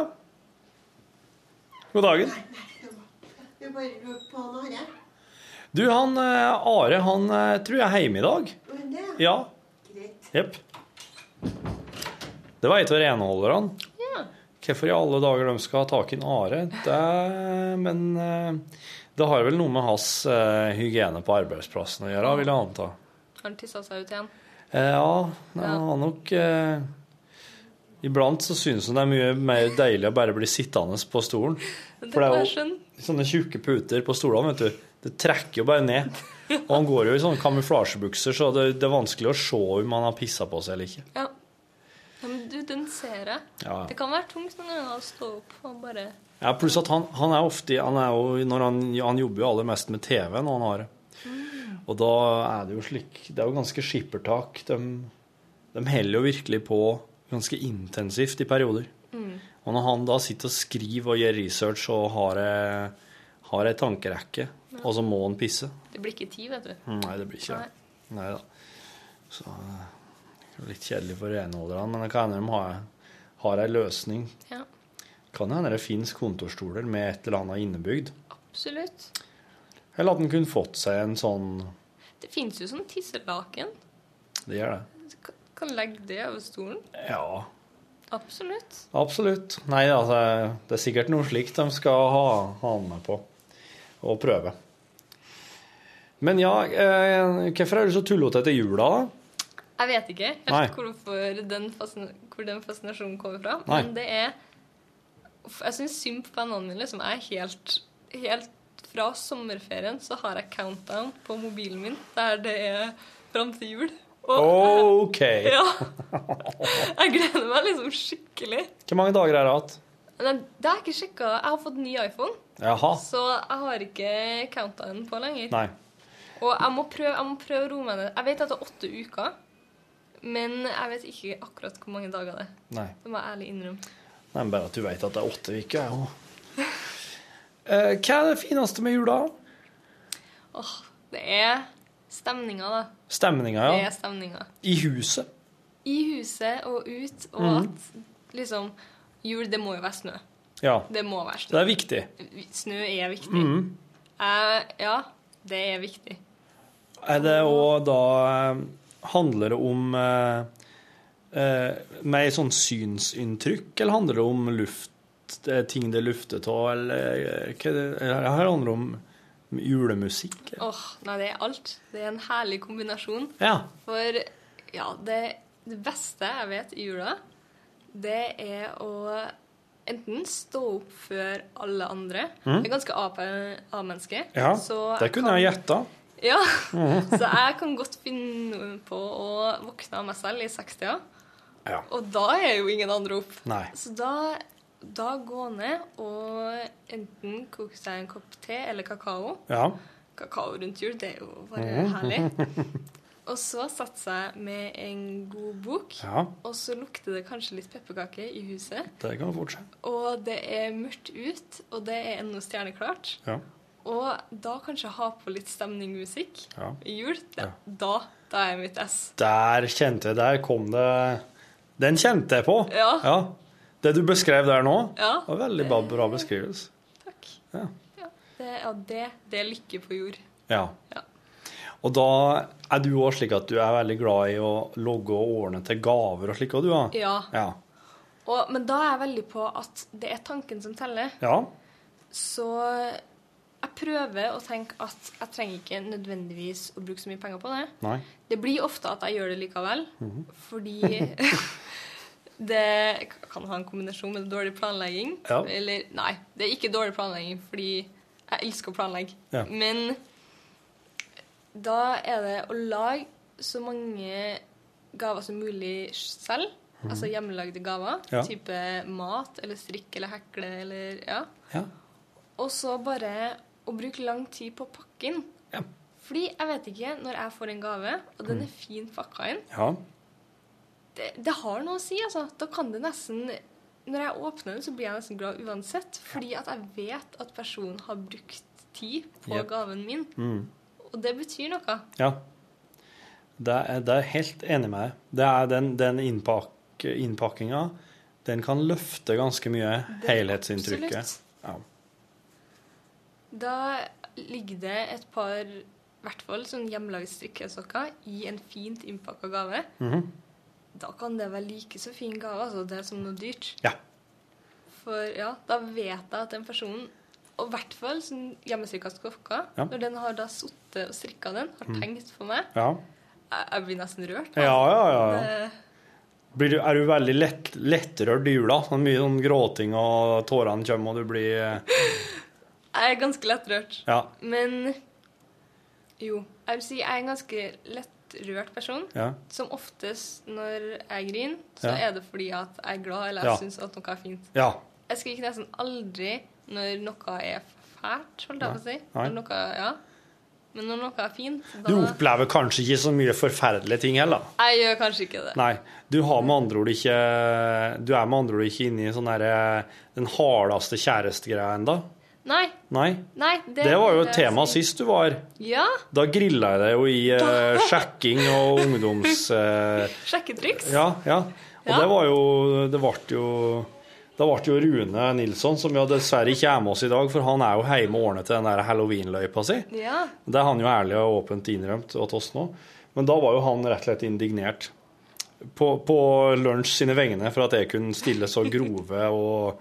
[SPEAKER 3] God dagen.
[SPEAKER 10] Du bare lurte på han Are?
[SPEAKER 3] Du, han eh, Are, han eh, tror jeg er hjemme i dag.
[SPEAKER 10] Men det er
[SPEAKER 3] Ja.
[SPEAKER 10] greit.
[SPEAKER 3] Jepp. Det var et av renholderne.
[SPEAKER 1] Ja.
[SPEAKER 3] Hvorfor i alle dager de skal ha tak i en Are? Det, men eh, det har vel noe med hans eh, hygiene på arbeidsplassen å gjøre, vil jeg anta.
[SPEAKER 1] Han tissa seg ut igjen.
[SPEAKER 3] Eh, Ja, nei, han har nok eh, Iblant så synes han det er mye mer deilig å bare bli sittende på stolen.
[SPEAKER 1] Men det sånn,
[SPEAKER 3] For det
[SPEAKER 1] må
[SPEAKER 3] er
[SPEAKER 1] jeg
[SPEAKER 3] jo
[SPEAKER 1] skjønne.
[SPEAKER 3] sånne tjukke puter på stolene, vet du. Det trekker jo bare ned. Og han går jo i sånne kamuflasjebukser, så det, det er vanskelig å se om han har pissa på seg eller ikke.
[SPEAKER 1] Ja. ja men du, den ser jeg.
[SPEAKER 3] Ja.
[SPEAKER 1] Det kan være tungt noen ganger å stå opp og bare
[SPEAKER 3] Ja, Pluss at han, han er ofte han er jo, når han, han jobber jo aller mest med TV når han har det.
[SPEAKER 1] Mm.
[SPEAKER 3] Og da er det jo slik Det er jo ganske skippertak. De, de heller jo virkelig på ganske intensivt i perioder.
[SPEAKER 1] mm.
[SPEAKER 3] Og når han da sitter og skriver og gjør research og har, eh, har ei tankerekke,
[SPEAKER 1] Ja.
[SPEAKER 3] og så må han pisse
[SPEAKER 1] Det blir ikke tid, vet du.
[SPEAKER 3] Nei, det blir ikke det. Nei da. Så eh, det er litt kjedelig for renholderne, men det kan hende de har, har ei løsning.
[SPEAKER 1] Ja.
[SPEAKER 3] Kan jo hende det fins kontorstoler med et eller annet innebygd.
[SPEAKER 1] Absolutt.
[SPEAKER 3] Eller at en kunne fått seg en sånn
[SPEAKER 1] Det fins jo sånn tisselaken.
[SPEAKER 3] Det gjør det.
[SPEAKER 1] Kan legge det over stolen.
[SPEAKER 3] Ja,
[SPEAKER 1] Absolutt.
[SPEAKER 3] absolutt. Nei, altså, det er sikkert noe slikt de skal ha, ha med på og prøve. Men ja, eh, hvorfor er du så tullete etter jula, da?
[SPEAKER 1] Jeg vet ikke
[SPEAKER 3] Nei.
[SPEAKER 1] helt hvorfor den fascina hvor den fascinasjonen kommer fra,
[SPEAKER 3] Nei.
[SPEAKER 1] men det er Uff, Jeg syns synd på vennene mine, som er helt, helt Fra sommerferien så har jeg countdown på mobilen min der det er fram til jul.
[SPEAKER 3] OK.
[SPEAKER 1] Ja. Jeg gleder meg liksom skikkelig.
[SPEAKER 3] Hvor mange dager er det igjen?
[SPEAKER 1] Men det har jeg ikke sjekka. Jeg har fått ny iPhone,
[SPEAKER 3] Jaha.
[SPEAKER 1] så jeg har ikke countdown på lenger.
[SPEAKER 3] Nei.
[SPEAKER 1] Og jeg må prøve, jeg må prøve å roe meg ned. Jeg vet at det er åtte uker, men jeg vet ikke akkurat hvor mange dager det er.
[SPEAKER 3] Nei.
[SPEAKER 1] Det må jeg ærlig innrømme.
[SPEAKER 3] Nei, men bare at du vet at det er åtte uker, er jo Eh, Hva er det fineste med jula?
[SPEAKER 1] Åh, det er stemninga, da.
[SPEAKER 3] Stemninga,
[SPEAKER 1] Det
[SPEAKER 3] ja.
[SPEAKER 1] er stemninga.
[SPEAKER 3] I huset.
[SPEAKER 1] I huset og ut, og
[SPEAKER 3] Mhm.
[SPEAKER 1] at liksom Jul, det må jo være snø.
[SPEAKER 3] Ja.
[SPEAKER 1] Det må være
[SPEAKER 3] Så det
[SPEAKER 1] snø.
[SPEAKER 3] er viktig.
[SPEAKER 1] Snø er viktig.
[SPEAKER 3] Mhm.
[SPEAKER 1] Eh, ja, det er viktig.
[SPEAKER 3] Er det òg da eh, Handler det om eh, eh, mer sånn synsinntrykk, eller handler det om luft, det er ting det lufter av, eller eh, hva er det eller Her handler det om julemusikk.
[SPEAKER 1] Åh, nei, det er alt. Det er en herlig kombinasjon.
[SPEAKER 3] Ja.
[SPEAKER 1] For ja, det, det beste jeg vet i jula, det er å enten stå opp før alle andre.
[SPEAKER 3] Mm.
[SPEAKER 1] Jeg er ganske ape- A-menneske.
[SPEAKER 3] ja.
[SPEAKER 1] så
[SPEAKER 3] Det kunne jeg gjetta.
[SPEAKER 1] Ja,
[SPEAKER 3] Mhm.
[SPEAKER 1] så jeg kan godt finne på å våkne av meg selv i sekstida.
[SPEAKER 3] Ja.
[SPEAKER 1] Og da er jo ingen andre opp.
[SPEAKER 3] Nei.
[SPEAKER 1] Så da, da gå ned og enten koke seg en kopp te eller kakao.
[SPEAKER 3] Ja.
[SPEAKER 1] Kakao rundt jul, det er jo bare
[SPEAKER 3] Mhm.
[SPEAKER 1] herlig. Og så sette seg med en god bok,
[SPEAKER 3] Ja.
[SPEAKER 1] og så lukter det kanskje litt pepperkake i huset.
[SPEAKER 3] Det kan fort skje.
[SPEAKER 1] Og det er mørkt ut, og det er ennå stjerneklart.
[SPEAKER 3] Ja.
[SPEAKER 1] Og da kanskje ha på litt stemningmusikk
[SPEAKER 3] Ja.
[SPEAKER 1] i jul. Da, da, da er jeg mitt ess.
[SPEAKER 3] Der kjente jeg Der kom det Den kjente jeg på.
[SPEAKER 1] Ja.
[SPEAKER 3] Det du beskrev der nå,
[SPEAKER 1] Ja.
[SPEAKER 3] var veldig bra, bra beskrivelse.
[SPEAKER 1] Det, ja, det, det er lykke på jord.
[SPEAKER 3] Ja. Og da er du òg slik at du er veldig glad i å logge og ordne til gaver og slik òg, du, da?
[SPEAKER 1] Ja.
[SPEAKER 3] Ja.
[SPEAKER 1] Og, men da er jeg veldig på at det er tanken som teller.
[SPEAKER 3] ja.
[SPEAKER 1] Så jeg prøver å tenke at jeg trenger ikke nødvendigvis å bruke så mye penger på det.
[SPEAKER 3] Nei.
[SPEAKER 1] Det blir ofte at jeg gjør det likevel,
[SPEAKER 3] Mhm.
[SPEAKER 1] fordi det kan ha en kombinasjon med dårlig planlegging.
[SPEAKER 3] Ja.
[SPEAKER 1] Eller nei, det er ikke dårlig planlegging, fordi jeg elsker å planlegge.
[SPEAKER 3] Ja.
[SPEAKER 1] Men da er det å lage så mange gaver som mulig selv.
[SPEAKER 3] Mhm.
[SPEAKER 1] Altså hjemmelagde gaver.
[SPEAKER 3] Ja.
[SPEAKER 1] Type mat eller strikk eller hekle eller Ja.
[SPEAKER 3] Ja.
[SPEAKER 1] Og så bare å bruke lang tid på å pakke inn. Fordi jeg vet ikke når jeg får en gave, og den
[SPEAKER 3] Mhm.
[SPEAKER 1] er fint pakka inn
[SPEAKER 3] Ja.
[SPEAKER 1] det, det har noe å si, altså. Da kan det nesten Når jeg åpner den, så blir jeg nesten glad uansett. Fordi at jeg vet at personen har brukt tid på
[SPEAKER 11] Yep.
[SPEAKER 1] gaven min.
[SPEAKER 3] Mm.
[SPEAKER 1] Og det betyr noe.
[SPEAKER 3] Ja. Det er, det er helt enig med deg. Det er den, den innpak, innpakkinga den kan løfte ganske mye
[SPEAKER 1] Det-
[SPEAKER 3] helhetsinntrykket.
[SPEAKER 1] absolutt.
[SPEAKER 3] Ja.
[SPEAKER 1] Da ligger det et par, i hvert fall sånn hjemmelaget strikkesokker, i en fint innpakka gave.
[SPEAKER 3] Mhm.
[SPEAKER 1] Da kan det være like så fin gave, altså. Det er som noe dyrt.
[SPEAKER 3] Ja.
[SPEAKER 1] For ja, da vet jeg at den personen, og i hvert fall sånn hjemmestrikka sokker,
[SPEAKER 3] Ja.
[SPEAKER 1] når den har da sittet og strikka den, har
[SPEAKER 3] Mm.
[SPEAKER 1] tenkt på meg,
[SPEAKER 3] ja.
[SPEAKER 1] jeg, jeg blir nesten rørt. altså. Eh,
[SPEAKER 3] Ja, ja, ja, ja.
[SPEAKER 1] Det-
[SPEAKER 3] Blir du, er du veldig lett, lettrørt i jula? Sånn mye sånn gråting, og tårene kommer, og du blir eh,
[SPEAKER 1] Jeg er ganske lettrørt.
[SPEAKER 3] Ja.
[SPEAKER 1] Men jo, jeg vil si jeg er en ganske lettrørt person.
[SPEAKER 3] Ja.
[SPEAKER 1] Som oftest når jeg griner, så
[SPEAKER 3] Ja.
[SPEAKER 1] er det fordi at jeg er glad, eller jeg
[SPEAKER 3] Ja.
[SPEAKER 1] syns at noe er fint.
[SPEAKER 3] Ja.
[SPEAKER 1] Jeg skriker nesten aldri når noe er fælt, holdt jeg på å si.
[SPEAKER 3] Nei.
[SPEAKER 1] Når noe, ja. Men når noe er fint,
[SPEAKER 3] Du
[SPEAKER 1] da
[SPEAKER 3] opplever kanskje ikke så mye forferdelige ting heller.
[SPEAKER 1] Jeg gjør kanskje ikke det.
[SPEAKER 3] Nei, du har med andre ord ikke Du er med andre ord ikke inne i sånn derre den hardeste kjærestegreia ennå.
[SPEAKER 1] Nei.
[SPEAKER 3] Nei.
[SPEAKER 1] Nei,
[SPEAKER 3] Det var jo et tema sist du var her.
[SPEAKER 1] Ja.
[SPEAKER 3] Da grilla jeg deg jo i eh, sjekking og ungdoms... eh,
[SPEAKER 1] Sjekketriks.
[SPEAKER 3] ja, ja. Og
[SPEAKER 1] Ja.
[SPEAKER 3] det var jo Det ble jo da ble jo Rune Nilsson, som jo dessverre ikke er med oss i dag, for han er jo hjemme og ordner til den der halloweenløypa si.
[SPEAKER 1] Ja.
[SPEAKER 3] Det er han jo ærlig og åpent innrømt til oss nå. Men da var jo han rett og slett indignert på, på Lunsj sine vegne for at jeg kunne stille så grove og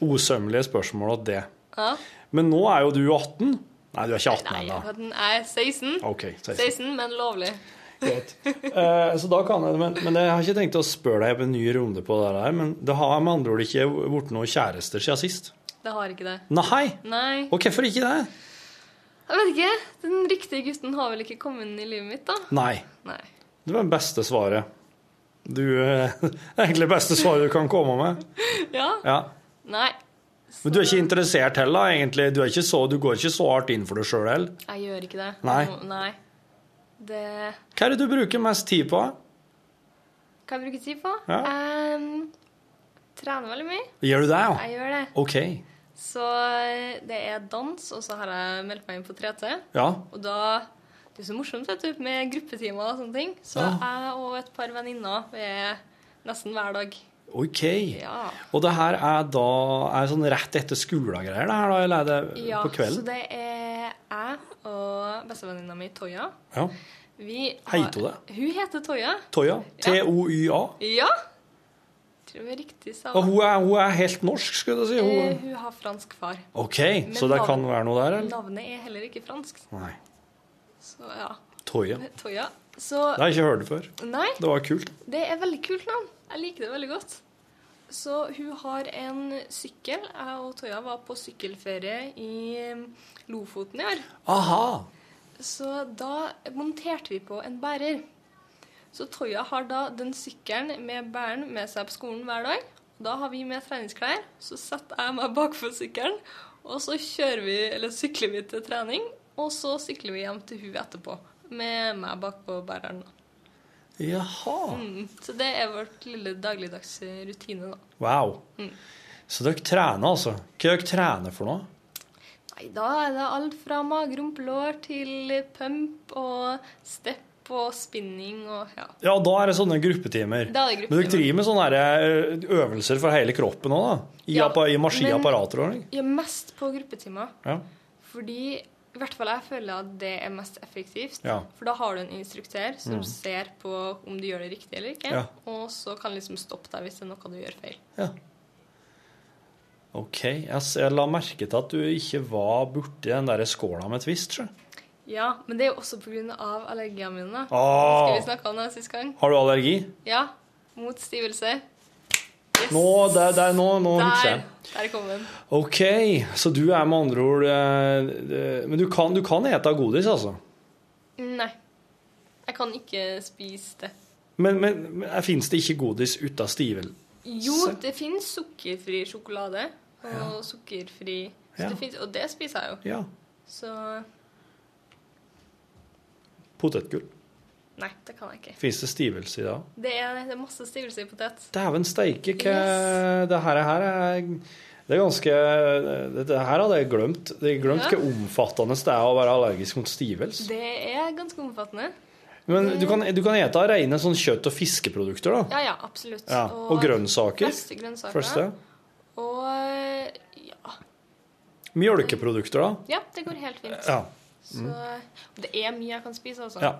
[SPEAKER 3] osømmelige spørsmål til det.
[SPEAKER 1] ja.
[SPEAKER 3] Men nå er jo du 18. Nei, du er ikke 18 ennå.
[SPEAKER 1] Jeg er 16.
[SPEAKER 3] OK. 16.
[SPEAKER 1] 16, men lovlig.
[SPEAKER 3] Greit. Eh, så da kan jeg, men, men jeg har ikke tenkt å spørre deg på en ny runde på det der, men det har med andre ord ikke blitt noen kjærester siden sist.
[SPEAKER 1] Det har ikke det.
[SPEAKER 3] Nei!
[SPEAKER 1] Nei.
[SPEAKER 3] Og hvorfor ikke det?
[SPEAKER 1] Jeg vet ikke. Den riktige gutten har vel ikke kommet inn i livet mitt, da?
[SPEAKER 3] Nei.
[SPEAKER 1] Nei.
[SPEAKER 3] Det var det beste svaret. Du eh, Egentlig det beste svaret du kan komme med.
[SPEAKER 1] Ja?
[SPEAKER 3] Ja.
[SPEAKER 1] Nei.
[SPEAKER 3] Men du er ikke interessert heller, egentlig. Du, er ikke så, du går ikke så hardt inn for deg sjøl heller.
[SPEAKER 1] Jeg gjør ikke det.
[SPEAKER 3] Nei.
[SPEAKER 1] Nå- Nei. Det
[SPEAKER 3] Hva er det du bruker mest tid på?
[SPEAKER 1] kan jeg bruke tid på.
[SPEAKER 3] Ja.
[SPEAKER 1] Em, trener veldig mye.
[SPEAKER 3] Gjør du det, ja?
[SPEAKER 1] Jeg gjør det.
[SPEAKER 3] OK.
[SPEAKER 1] Så eh, det er dans, og så har jeg meldt meg inn på 3T.
[SPEAKER 3] Ja.
[SPEAKER 1] Og da Det er så morsomt vet du, med gruppetimer og sånne ting. Så
[SPEAKER 3] Ja.
[SPEAKER 1] jeg og et par venninner er nesten hver dag.
[SPEAKER 3] OK.
[SPEAKER 1] Ja.
[SPEAKER 3] Og det her er da er sånn rett etter skolegreier, det her, da? Eller er det
[SPEAKER 1] Ja,
[SPEAKER 3] Eh, på
[SPEAKER 1] Så
[SPEAKER 3] kvelden?
[SPEAKER 1] det er jeg og bestevenninna mi Toya.
[SPEAKER 3] Ja.
[SPEAKER 1] Vi har-
[SPEAKER 3] Heiter hun det?
[SPEAKER 1] Hun heter Toya.
[SPEAKER 3] Toya. T-o-y-a.
[SPEAKER 1] Ja! Tror jeg riktig sa
[SPEAKER 3] Og hun er, hun er helt norsk, skulle du si.
[SPEAKER 1] Eh,
[SPEAKER 3] Hun.
[SPEAKER 1] hun har fransk far.
[SPEAKER 3] OK,
[SPEAKER 1] Men
[SPEAKER 3] så det
[SPEAKER 1] navn-
[SPEAKER 3] kan være noe der, eller?
[SPEAKER 1] Navnet er heller ikke fransk.
[SPEAKER 3] Nei.
[SPEAKER 1] Så ja.
[SPEAKER 3] Toya.
[SPEAKER 1] Toya. Så
[SPEAKER 3] Det har jeg ikke hørt det før.
[SPEAKER 1] Nei.
[SPEAKER 3] Det var kult.
[SPEAKER 1] Det er veldig kult navn. Jeg liker det veldig godt. Så hun har en sykkel. Jeg og Toya var på sykkelferie i um, Lofoten i år.
[SPEAKER 3] Aha!
[SPEAKER 1] Så da monterte vi på en bærer. Så Toya har da den sykkelen med bæren med seg på skolen hver dag. Da har vi med treningsklær. Så setter jeg meg bakpå sykkelen, og så kjører vi, eller sykler vi til trening. Og så sykler vi hjem til hun etterpå, med meg bakpå bæreren. da.
[SPEAKER 3] Jaha.
[SPEAKER 1] Mm, så det er vårt lille dagligdags eh, rutine, da.
[SPEAKER 3] Wow.
[SPEAKER 1] Mm.
[SPEAKER 3] Så dere trener, altså? Hva dere trener for noe?
[SPEAKER 1] Nei, da er det alt fra magerumpelår til pump og step og spinning og ja.
[SPEAKER 3] Ja, da er det sånne gruppetimer.
[SPEAKER 1] Da er det gruppetimer.
[SPEAKER 3] Men dere driver med sånne her, ø, øvelser for hele kroppen òg, da? I,
[SPEAKER 1] Ja,
[SPEAKER 3] appa- i maski-
[SPEAKER 1] men-
[SPEAKER 3] apparater og sånn?
[SPEAKER 1] Ja, mest på gruppetimer.
[SPEAKER 3] Ja.
[SPEAKER 1] Fordi i hvert fall jeg føler at det er mest effektivt.
[SPEAKER 3] Ja.
[SPEAKER 1] For da har du en instruktør som
[SPEAKER 3] Mm.
[SPEAKER 1] ser på om du gjør det riktig eller ikke,
[SPEAKER 3] Ja.
[SPEAKER 1] og så kan liksom stoppe deg hvis det er noe du gjør feil.
[SPEAKER 3] OK. Jeg, s- jeg la merke til at du ikke var borti den der skåla med Twist. Sjø.
[SPEAKER 1] Ja, men det er jo også pga. allergiene mine. da.
[SPEAKER 3] Ah.
[SPEAKER 1] Husker vi snakka om det sist gang?
[SPEAKER 3] Har du allergi?
[SPEAKER 1] Ja. Mot stivelse.
[SPEAKER 3] Nå, der, der, nå, nå husker jeg.
[SPEAKER 1] Der, der kom den.
[SPEAKER 3] OK, så du er med andre ord ø, ø, Men du kan, du kan ete godis, altså?
[SPEAKER 1] Nei. Jeg kan ikke spise det.
[SPEAKER 3] Men, men, men fins det ikke godis uten stivel?
[SPEAKER 1] Jo, det finnes sukkerfri sjokolade og
[SPEAKER 3] Ja.
[SPEAKER 1] sukkerfri så
[SPEAKER 3] Ja.
[SPEAKER 1] det finnes, Og det spiser jeg jo.
[SPEAKER 3] Ja.
[SPEAKER 1] Så
[SPEAKER 3] Potetgull.
[SPEAKER 1] Nei, det kan jeg ikke.
[SPEAKER 3] Fins det stivelse i det?
[SPEAKER 1] Det er, det er masse stivelse i potet.
[SPEAKER 3] Dæven steike, hva Det her, her er Det er ganske eh, Det, det her hadde jeg glemt. Jeg har glemt
[SPEAKER 1] Ja.
[SPEAKER 3] hvor omfattende det er å være allergisk mot stivelse.
[SPEAKER 1] Det er ganske omfattende.
[SPEAKER 3] Men du kan, du kan ete rene sånn kjøtt- og fiskeprodukter, da.
[SPEAKER 1] Mm. Ja, ja, absolutt.
[SPEAKER 3] Ja, og grønnsaker.
[SPEAKER 1] Fleste grønnsaker.
[SPEAKER 3] Første.
[SPEAKER 1] Og ja.
[SPEAKER 3] Mjølkeprodukter, da.
[SPEAKER 1] ja, det går helt fint.
[SPEAKER 3] Ja.
[SPEAKER 1] Så det er mye jeg kan spise, altså.
[SPEAKER 3] Mm. Ja.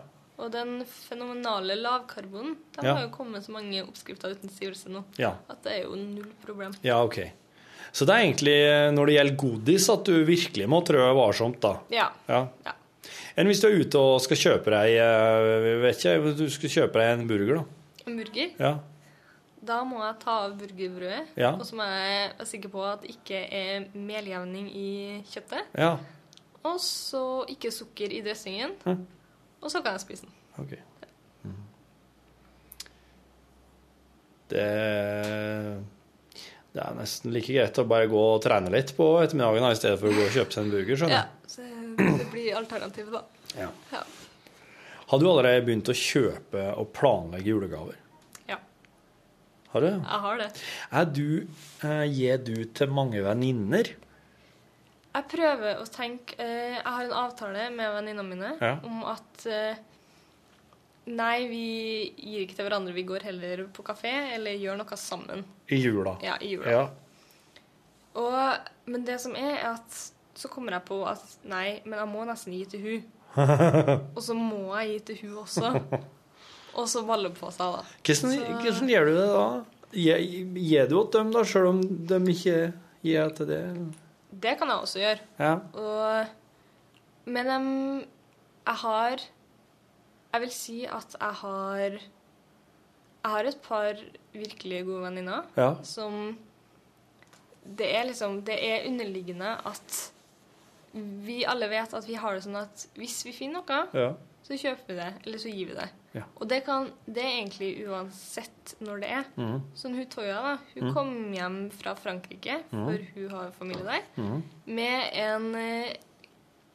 [SPEAKER 1] Og den fenomenale lavkarbonen, der
[SPEAKER 3] Ja.
[SPEAKER 1] har jo kommet så mange oppskrifter uten stivelse nå,
[SPEAKER 3] Ja.
[SPEAKER 1] at det er jo null problem.
[SPEAKER 3] ja, OK. Så det er egentlig eh, når det gjelder godis, at du virkelig må trø varsomt, da.
[SPEAKER 1] Ja.
[SPEAKER 3] Ja. Enn hvis du er ute og skal kjøpe deg eh, vet ikke, du skal kjøpe deg en burger, da.
[SPEAKER 1] En burger.
[SPEAKER 3] Ja.
[SPEAKER 1] Da må jeg ta av burgerbrødet,
[SPEAKER 3] Ja.
[SPEAKER 1] og så må jeg være sikker på at det ikke er meljevning i kjøttet.
[SPEAKER 3] ja.
[SPEAKER 1] Og så ikke sukker i dressingen.
[SPEAKER 3] Mhm.
[SPEAKER 1] Og så kan jeg spise den.
[SPEAKER 3] Ok. Mm. Det, det er nesten like greit å bare gå og trene litt på ettermiddagen da, i stedet for å gå og kjøpe seg en burger,
[SPEAKER 1] Ja,
[SPEAKER 3] skjønner jeg.
[SPEAKER 1] så det blir alternativet, da.
[SPEAKER 3] Sånn, Ja.
[SPEAKER 1] Ja.
[SPEAKER 3] Har du allerede begynt å kjøpe og planlegge julegaver?
[SPEAKER 1] Ja.
[SPEAKER 3] Har du?
[SPEAKER 1] Jeg har det.
[SPEAKER 3] Er du, eh, gir du til mange venninner?
[SPEAKER 1] Jeg prøver å tenke eh, Jeg har en avtale med venninnene mine
[SPEAKER 3] Ja.
[SPEAKER 1] om at eh, Nei, vi gir ikke til hverandre. Vi går heller på kafé eller gjør noe sammen.
[SPEAKER 3] I jula?
[SPEAKER 1] Ja, i jula.
[SPEAKER 3] Ja.
[SPEAKER 1] Og, men det som er, er at så kommer jeg på at nei, men jeg må nesten gi til hun. Og så må jeg gi til hun også. Og så baller det på seg, da.
[SPEAKER 3] Hvordan,
[SPEAKER 1] Så-
[SPEAKER 3] hvordan gjør du det da? Gir gir du åt dem da, selv om de ikke gir til det?
[SPEAKER 1] Det kan jeg også gjøre.
[SPEAKER 3] Ja.
[SPEAKER 1] Og, men em, jeg har Jeg vil si at jeg har Jeg har et par virkelig gode venninner
[SPEAKER 3] Ja.
[SPEAKER 1] som Det er liksom Det er underliggende at vi alle vet at vi har det sånn at hvis vi finner noe,
[SPEAKER 3] Ja.
[SPEAKER 1] så kjøper vi det, eller så gir vi det.
[SPEAKER 3] Ja.
[SPEAKER 1] Og det, kan, det er egentlig uansett når det er.
[SPEAKER 3] Mhm.
[SPEAKER 1] Sånn hun Toya, da. Hun
[SPEAKER 3] Mhm.
[SPEAKER 1] kom hjem fra Frankrike,
[SPEAKER 3] Mhm.
[SPEAKER 1] for hun har familie der
[SPEAKER 3] Mhm.
[SPEAKER 1] med en eh,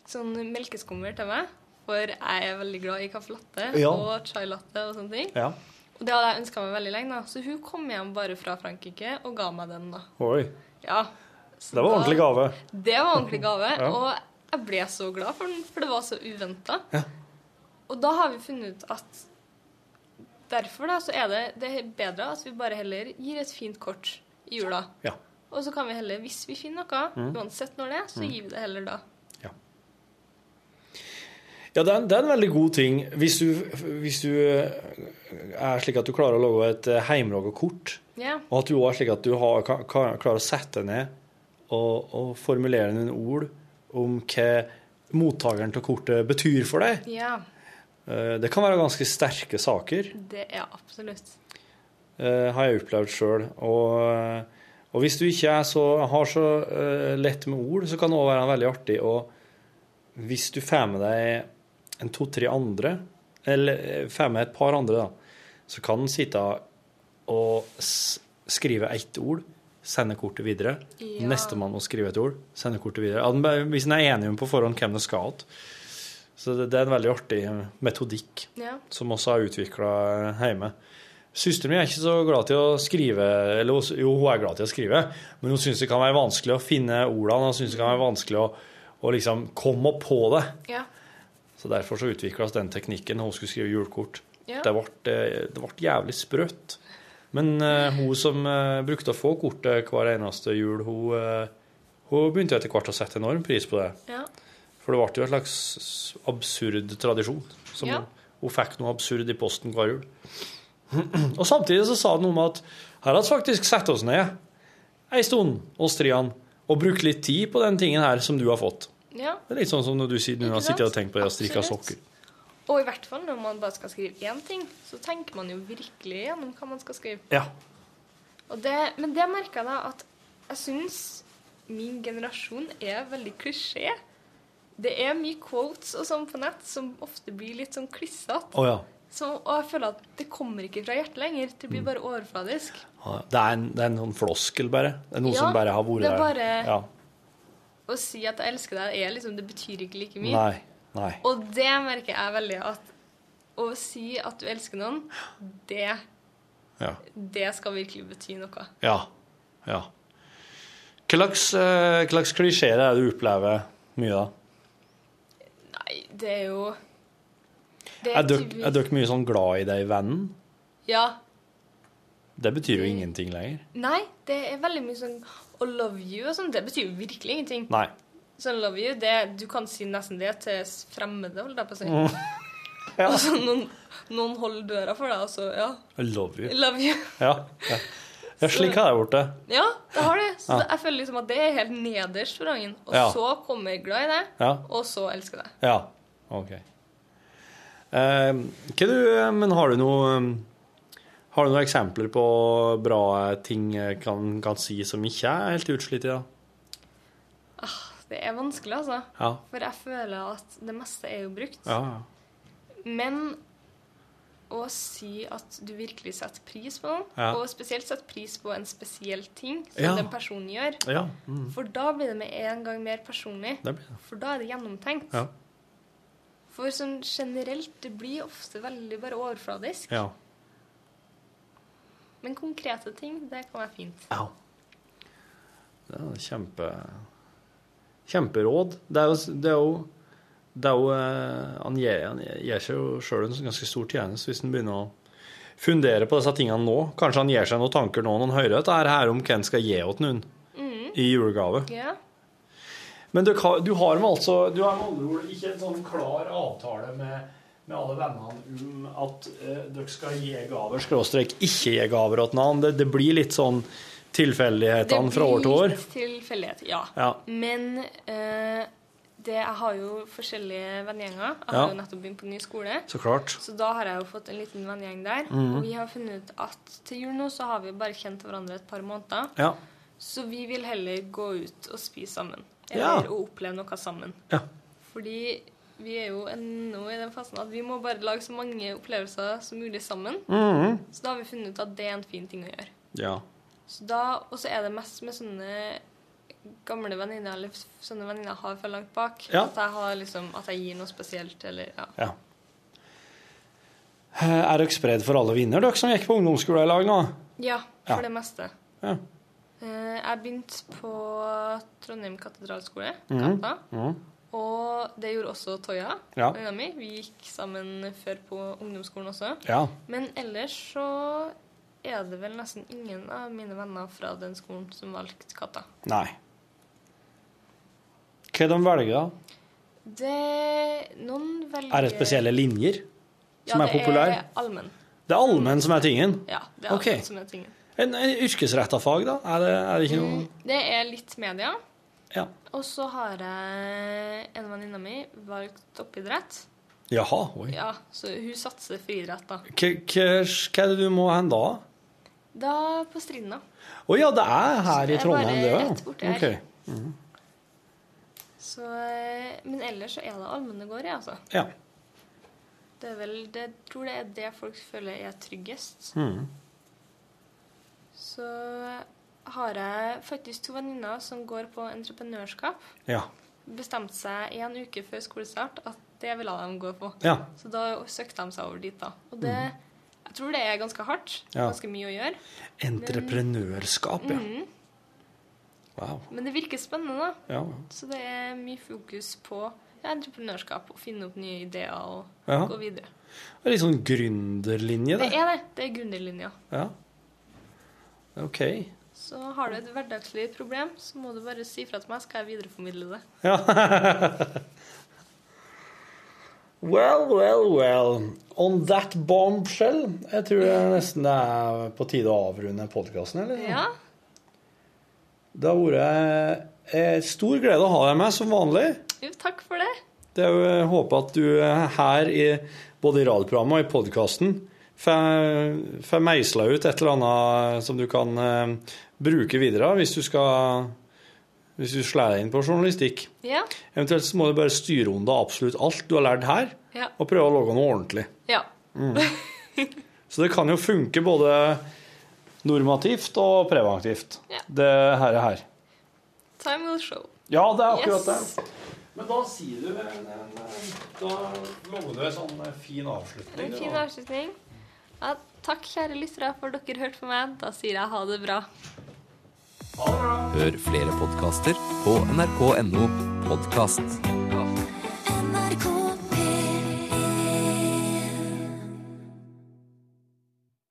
[SPEAKER 1] sånn melkeskummer til meg. For jeg er veldig glad i caffè latte
[SPEAKER 3] Ja.
[SPEAKER 1] og chai latte og sånne ting.
[SPEAKER 3] Ja.
[SPEAKER 1] Og det hadde jeg ønska meg veldig lenge, da. Så hun kom hjem bare fra Frankrike og ga meg den, da.
[SPEAKER 3] Oi,
[SPEAKER 1] Ja. Så
[SPEAKER 3] det var
[SPEAKER 1] da-
[SPEAKER 3] ordentlig gave.
[SPEAKER 1] Det var ordentlig gave.
[SPEAKER 3] Ja.
[SPEAKER 1] Og jeg ble så glad for den, for det var så uventa. Og da har vi funnet ut at derfor da, så er det, det er bedre at vi bare heller gir et fint kort i jula.
[SPEAKER 3] Ja.
[SPEAKER 1] Og så kan vi heller, hvis vi finner noe,
[SPEAKER 3] Mm.
[SPEAKER 1] uansett når det er, så
[SPEAKER 3] Mm.
[SPEAKER 1] gir vi det heller da.
[SPEAKER 3] Ja, det er, en, det er en veldig god ting hvis du, hvis du eh, er slik at du klarer å lage et eh, heimelaga kort,
[SPEAKER 1] Ja.
[SPEAKER 3] og at du også er slik at du har, kan, kan, klarer å sette ned og, og formulere noen ord om hva mottakeren av kortet betyr for deg.
[SPEAKER 1] ja.
[SPEAKER 3] Eh, Det kan være ganske sterke saker,
[SPEAKER 1] Det er absolutt.
[SPEAKER 3] eh, har jeg opplevd sjøl. Og, og hvis du ikke er så, har så eh, lett med ord, så kan det òg være veldig artig å Hvis du får med deg en to-tre andre, eller eh, får med et par andre, da, så kan en sitte og s skrive ett ord, sende kortet videre.
[SPEAKER 1] Ja.
[SPEAKER 3] Nestemann må skrive et ord, sende kortet videre. Ja, den bare- Hvis en er enig om på forhånd hvem det skal til. Så det, det er en veldig artig metodikk
[SPEAKER 1] Ja.
[SPEAKER 3] som også er utvikla hjemme. Søsteren min er ikke så glad til å skrive eller, hun- Jo, hun er glad til å skrive, men hun syns det kan være vanskelig å finne ordene. Hun syns det kan være vanskelig å, å liksom komme på det.
[SPEAKER 1] Ja.
[SPEAKER 3] Så derfor så utvikles den teknikken når hun skulle skrive julekort.
[SPEAKER 1] Ja.
[SPEAKER 3] Det, ble, eh, det ble jævlig sprøtt. Men eh, hun som eh, brukte å få kortet hver eneste jul, hun, eh, hun begynte etter hvert å sette enorm pris på det.
[SPEAKER 1] Ja.
[SPEAKER 3] For det ble jo en slags absurd tradisjon. Som
[SPEAKER 1] Ja.
[SPEAKER 3] hun, hun fikk noe absurd i posten hver jul. og samtidig så sa hun noe om at her har vi faktisk satt oss ned ei stund, oss treene, og brukt litt tid på den tingen her som du har fått.
[SPEAKER 1] ja.
[SPEAKER 3] Det er litt sånn som når du sier du har
[SPEAKER 1] Ikke sant?
[SPEAKER 3] sittet og tenkt på det å strikke
[SPEAKER 1] Absolutt.
[SPEAKER 3] sokker.
[SPEAKER 1] Og i hvert fall når man bare skal skrive én ting, så tenker man jo virkelig gjennom hva man skal skrive.
[SPEAKER 3] Ja.
[SPEAKER 1] Og det, men det merka jeg da at jeg syns min generasjon er veldig klisjé. Det er mye quotes og sånn på nett som ofte blir litt sånn klissete.
[SPEAKER 3] Å ja.
[SPEAKER 1] Så, og jeg føler at det kommer ikke fra hjertet lenger. Det blir bare overfladisk.
[SPEAKER 3] Ja, Det er, en, det er noen floskel, bare. Det er noe
[SPEAKER 1] Ja,
[SPEAKER 3] som bare har vært
[SPEAKER 1] det er
[SPEAKER 3] der.
[SPEAKER 1] bare-
[SPEAKER 3] Ja.
[SPEAKER 1] Å si at jeg elsker deg, er liksom, det betyr ikke like mye.
[SPEAKER 3] Nei. Nei.
[SPEAKER 1] Og det merker jeg veldig at å si at du elsker noen, det,
[SPEAKER 3] Ja.
[SPEAKER 1] det skal virkelig bety noe.
[SPEAKER 3] Ja. ja. Hva slags, eh, hva slags klisjeer er det du opplever mye da?
[SPEAKER 1] Nei, det er jo det
[SPEAKER 3] Er
[SPEAKER 1] typisk-
[SPEAKER 3] dere er dere mye sånn glad i deg, vennen?
[SPEAKER 1] Ja.
[SPEAKER 3] Det betyr jo ingenting lenger.
[SPEAKER 1] Nei, det er veldig mye sånn å love you og sånn. Det betyr jo virkelig ingenting.
[SPEAKER 3] Nei.
[SPEAKER 1] Sånn love you, det, du kan si nesten det til s- fremmede, holdt jeg på å si.
[SPEAKER 3] Mm. Ja.
[SPEAKER 1] Og så noen, noen holder døra for deg, og så ja.
[SPEAKER 3] I love you.
[SPEAKER 1] Love you.
[SPEAKER 3] Ja. ja. ja slik har jeg gjort det.
[SPEAKER 1] Ja, det har det. Så
[SPEAKER 3] Ja.
[SPEAKER 1] det- jeg føler liksom at det er helt nederst på rangen. Og
[SPEAKER 3] Ja.
[SPEAKER 1] så kommer jeg glad i deg,
[SPEAKER 3] Ja.
[SPEAKER 1] og så elsker jeg deg.
[SPEAKER 3] Ja. OK. Eh, hva du, men har du noe eh, Har du noen eksempler på bra ting jeg kan, kan si som ikke er helt utslitt i dag?
[SPEAKER 1] Det er vanskelig, altså.
[SPEAKER 3] Ja.
[SPEAKER 1] For jeg føler at det meste er jo brukt.
[SPEAKER 3] Ja, ja.
[SPEAKER 1] Men å si at du virkelig setter pris på noen,
[SPEAKER 3] Ja.
[SPEAKER 1] og spesielt setter pris på en spesiell ting som
[SPEAKER 3] Ja.
[SPEAKER 1] den personen gjør,
[SPEAKER 3] Ja, mhm.
[SPEAKER 1] for da blir det med en gang mer personlig.
[SPEAKER 3] Det blir det.
[SPEAKER 1] For da er det gjennomtenkt.
[SPEAKER 3] Ja.
[SPEAKER 1] For sånn generelt, det blir ofte veldig bare overfladisk.
[SPEAKER 3] ja.
[SPEAKER 1] Men konkrete ting, det kan være fint.
[SPEAKER 3] Det er kjempe Kjemperåd. Det er jo Det er jo, det er jo eh, Han gir, han gir seg jo sjøl en ganske stor tjeneste hvis han begynner å fundere på disse tingene nå. Kanskje han gir seg noen tanker nå når han hører dette her om hvem skal gi åt noen i julegave.
[SPEAKER 1] Ja.
[SPEAKER 3] Men du, har- du har med altså Du har med andre ord ikke en sånn klar avtale med med alle vennene om at eh, dere skal gi gaver, skråstrek ikke gi gaver åt noen. Det, det blir litt sånn tilfeldighetene fra år til år.
[SPEAKER 1] litt tilfeldighet, ja.
[SPEAKER 3] Ja.
[SPEAKER 1] Men eh, det, jeg har jo forskjellige vennegjenger. Jeg
[SPEAKER 3] Ja.
[SPEAKER 1] har jo nettopp begynt på ny skole.
[SPEAKER 3] Så klart.
[SPEAKER 1] Så da har jeg jo fått en liten vennegjeng der.
[SPEAKER 3] Mhm.
[SPEAKER 1] Og vi har funnet ut at til jul nå så har vi bare kjent hverandre et par måneder.
[SPEAKER 3] Ja.
[SPEAKER 1] Så vi vil heller gå ut og spise sammen.
[SPEAKER 3] Ja.
[SPEAKER 1] Eller å oppleve noe sammen. Fordi vi er jo ennå i den fasen at vi må bare lage så mange opplevelser som mulig sammen.
[SPEAKER 3] Mhm.
[SPEAKER 1] Så da har vi funnet ut at det er en fin ting å gjøre.
[SPEAKER 3] Ja.
[SPEAKER 1] Så da, og så er det mest med sånne gamle venninner, eller sånne venninner jeg har fra langt bak,
[SPEAKER 3] Ja.
[SPEAKER 1] at, jeg har liksom, at jeg gir noe spesielt, eller ja.
[SPEAKER 3] ja. Eh, Er dere spredd for alle vinner, dere som gikk på ungdomsskolen i lag nå?
[SPEAKER 1] Ja,
[SPEAKER 3] Ja.
[SPEAKER 1] for det meste.
[SPEAKER 3] Ja.
[SPEAKER 1] Eh, Jeg begynte på Trondheim katedralskole,
[SPEAKER 3] Mhm.
[SPEAKER 1] Kappa,
[SPEAKER 3] Mhm.
[SPEAKER 1] og det gjorde også Toya,
[SPEAKER 3] Ja.
[SPEAKER 1] venninna mi. Vi gikk sammen før på ungdomsskolen også.
[SPEAKER 3] Ja.
[SPEAKER 1] Men ellers så er det vel nesten ingen av mine venner fra den skolen som valgte Katta.
[SPEAKER 3] Nei. Hva de velger da?
[SPEAKER 1] Det Noen velger
[SPEAKER 3] Er det spesielle linjer som er populære?
[SPEAKER 1] Ja, det er allmenn.
[SPEAKER 3] Det er allmenn som er tingen?
[SPEAKER 1] Ja, det er
[SPEAKER 3] Ok.
[SPEAKER 1] allmenn som er tingen.
[SPEAKER 3] En, en yrkesrettet fag, da? Er det, er det ikke noe
[SPEAKER 1] Det er litt media.
[SPEAKER 3] Ja.
[SPEAKER 1] Og så har jeg en venninne mi valgt toppidrett.
[SPEAKER 3] Jaha, oi.
[SPEAKER 1] Ja, så hun satser friidrett, da.
[SPEAKER 3] Hva- Hva hva er det du må hen da?
[SPEAKER 1] Da på Strinda.
[SPEAKER 3] Å ja, det er her
[SPEAKER 1] det
[SPEAKER 3] i
[SPEAKER 1] er
[SPEAKER 3] Trondheim,
[SPEAKER 1] bare
[SPEAKER 3] det
[SPEAKER 1] rett borti
[SPEAKER 3] òg?
[SPEAKER 1] her.
[SPEAKER 3] Okay. Mhm.
[SPEAKER 1] Så, eh, men ellers så er det allmenne går i, altså.
[SPEAKER 3] Ja.
[SPEAKER 1] Det er vel, det, jeg tror det er det folk føler er tryggest.
[SPEAKER 3] Mhm.
[SPEAKER 1] Så har jeg faktisk to venninner som går på entreprenørskap.
[SPEAKER 3] Ja.
[SPEAKER 1] Bestemte seg en uke før skolestart at det ville de gå på.
[SPEAKER 3] Ja.
[SPEAKER 1] Så da søkte de seg over dit, da. Og det, jeg tror det er ganske hardt.
[SPEAKER 3] Mm. Ja.
[SPEAKER 1] Ganske mye å gjøre.
[SPEAKER 3] Entreprenørskap, ja.
[SPEAKER 1] Mhm.
[SPEAKER 3] Wow.
[SPEAKER 1] Men det virker spennende, da.
[SPEAKER 3] Ja.
[SPEAKER 1] Så det er mye fokus på ja, entreprenørskap. Å finne opp nye ideer og
[SPEAKER 3] Ja.
[SPEAKER 1] gå videre.
[SPEAKER 3] Det er Litt sånn gründerlinje,
[SPEAKER 1] Det
[SPEAKER 3] det.
[SPEAKER 1] er det. Det er grunnlinja.
[SPEAKER 3] Ja. OK.
[SPEAKER 1] Så har du et hverdagslig problem, så må du bare si fra til meg, skal jeg videreformidle det.
[SPEAKER 3] Ja. well, well, well. On that bombshell. Jeg tror det er nesten det er på tide å avrunde podkasten, eller?
[SPEAKER 1] Ja.
[SPEAKER 3] Det har vært eh, stor glede å ha deg med, som vanlig.
[SPEAKER 1] Jo, takk for det.
[SPEAKER 3] Det er jo jeg håper at du eh, her, i, både i radioprogrammet og i podkasten, får får meisla ut et eller annet som du kan eh, bruke videre hvis du skal hvis du slår deg inn på journalistikk.
[SPEAKER 1] Ja.
[SPEAKER 3] Eventuelt så må du bare styre unna absolutt alt du har lært her,
[SPEAKER 1] Ja.
[SPEAKER 3] og prøve å lage noe ordentlig.
[SPEAKER 1] Ja.
[SPEAKER 3] Mm. Så det kan jo funke både normativt og preventivt, det her er her.
[SPEAKER 1] Time will show.
[SPEAKER 3] Ja, det er akkurat
[SPEAKER 1] Yes.
[SPEAKER 3] det. Men da sier du en, en, en Da lå det en sånn fin avslutning.
[SPEAKER 1] En fin avslutning. Ja, takk, kjære lyttere, for dere hørte på meg. Da sier jeg ha det bra.
[SPEAKER 2] Hør flere podkaster på nrk.no podkast.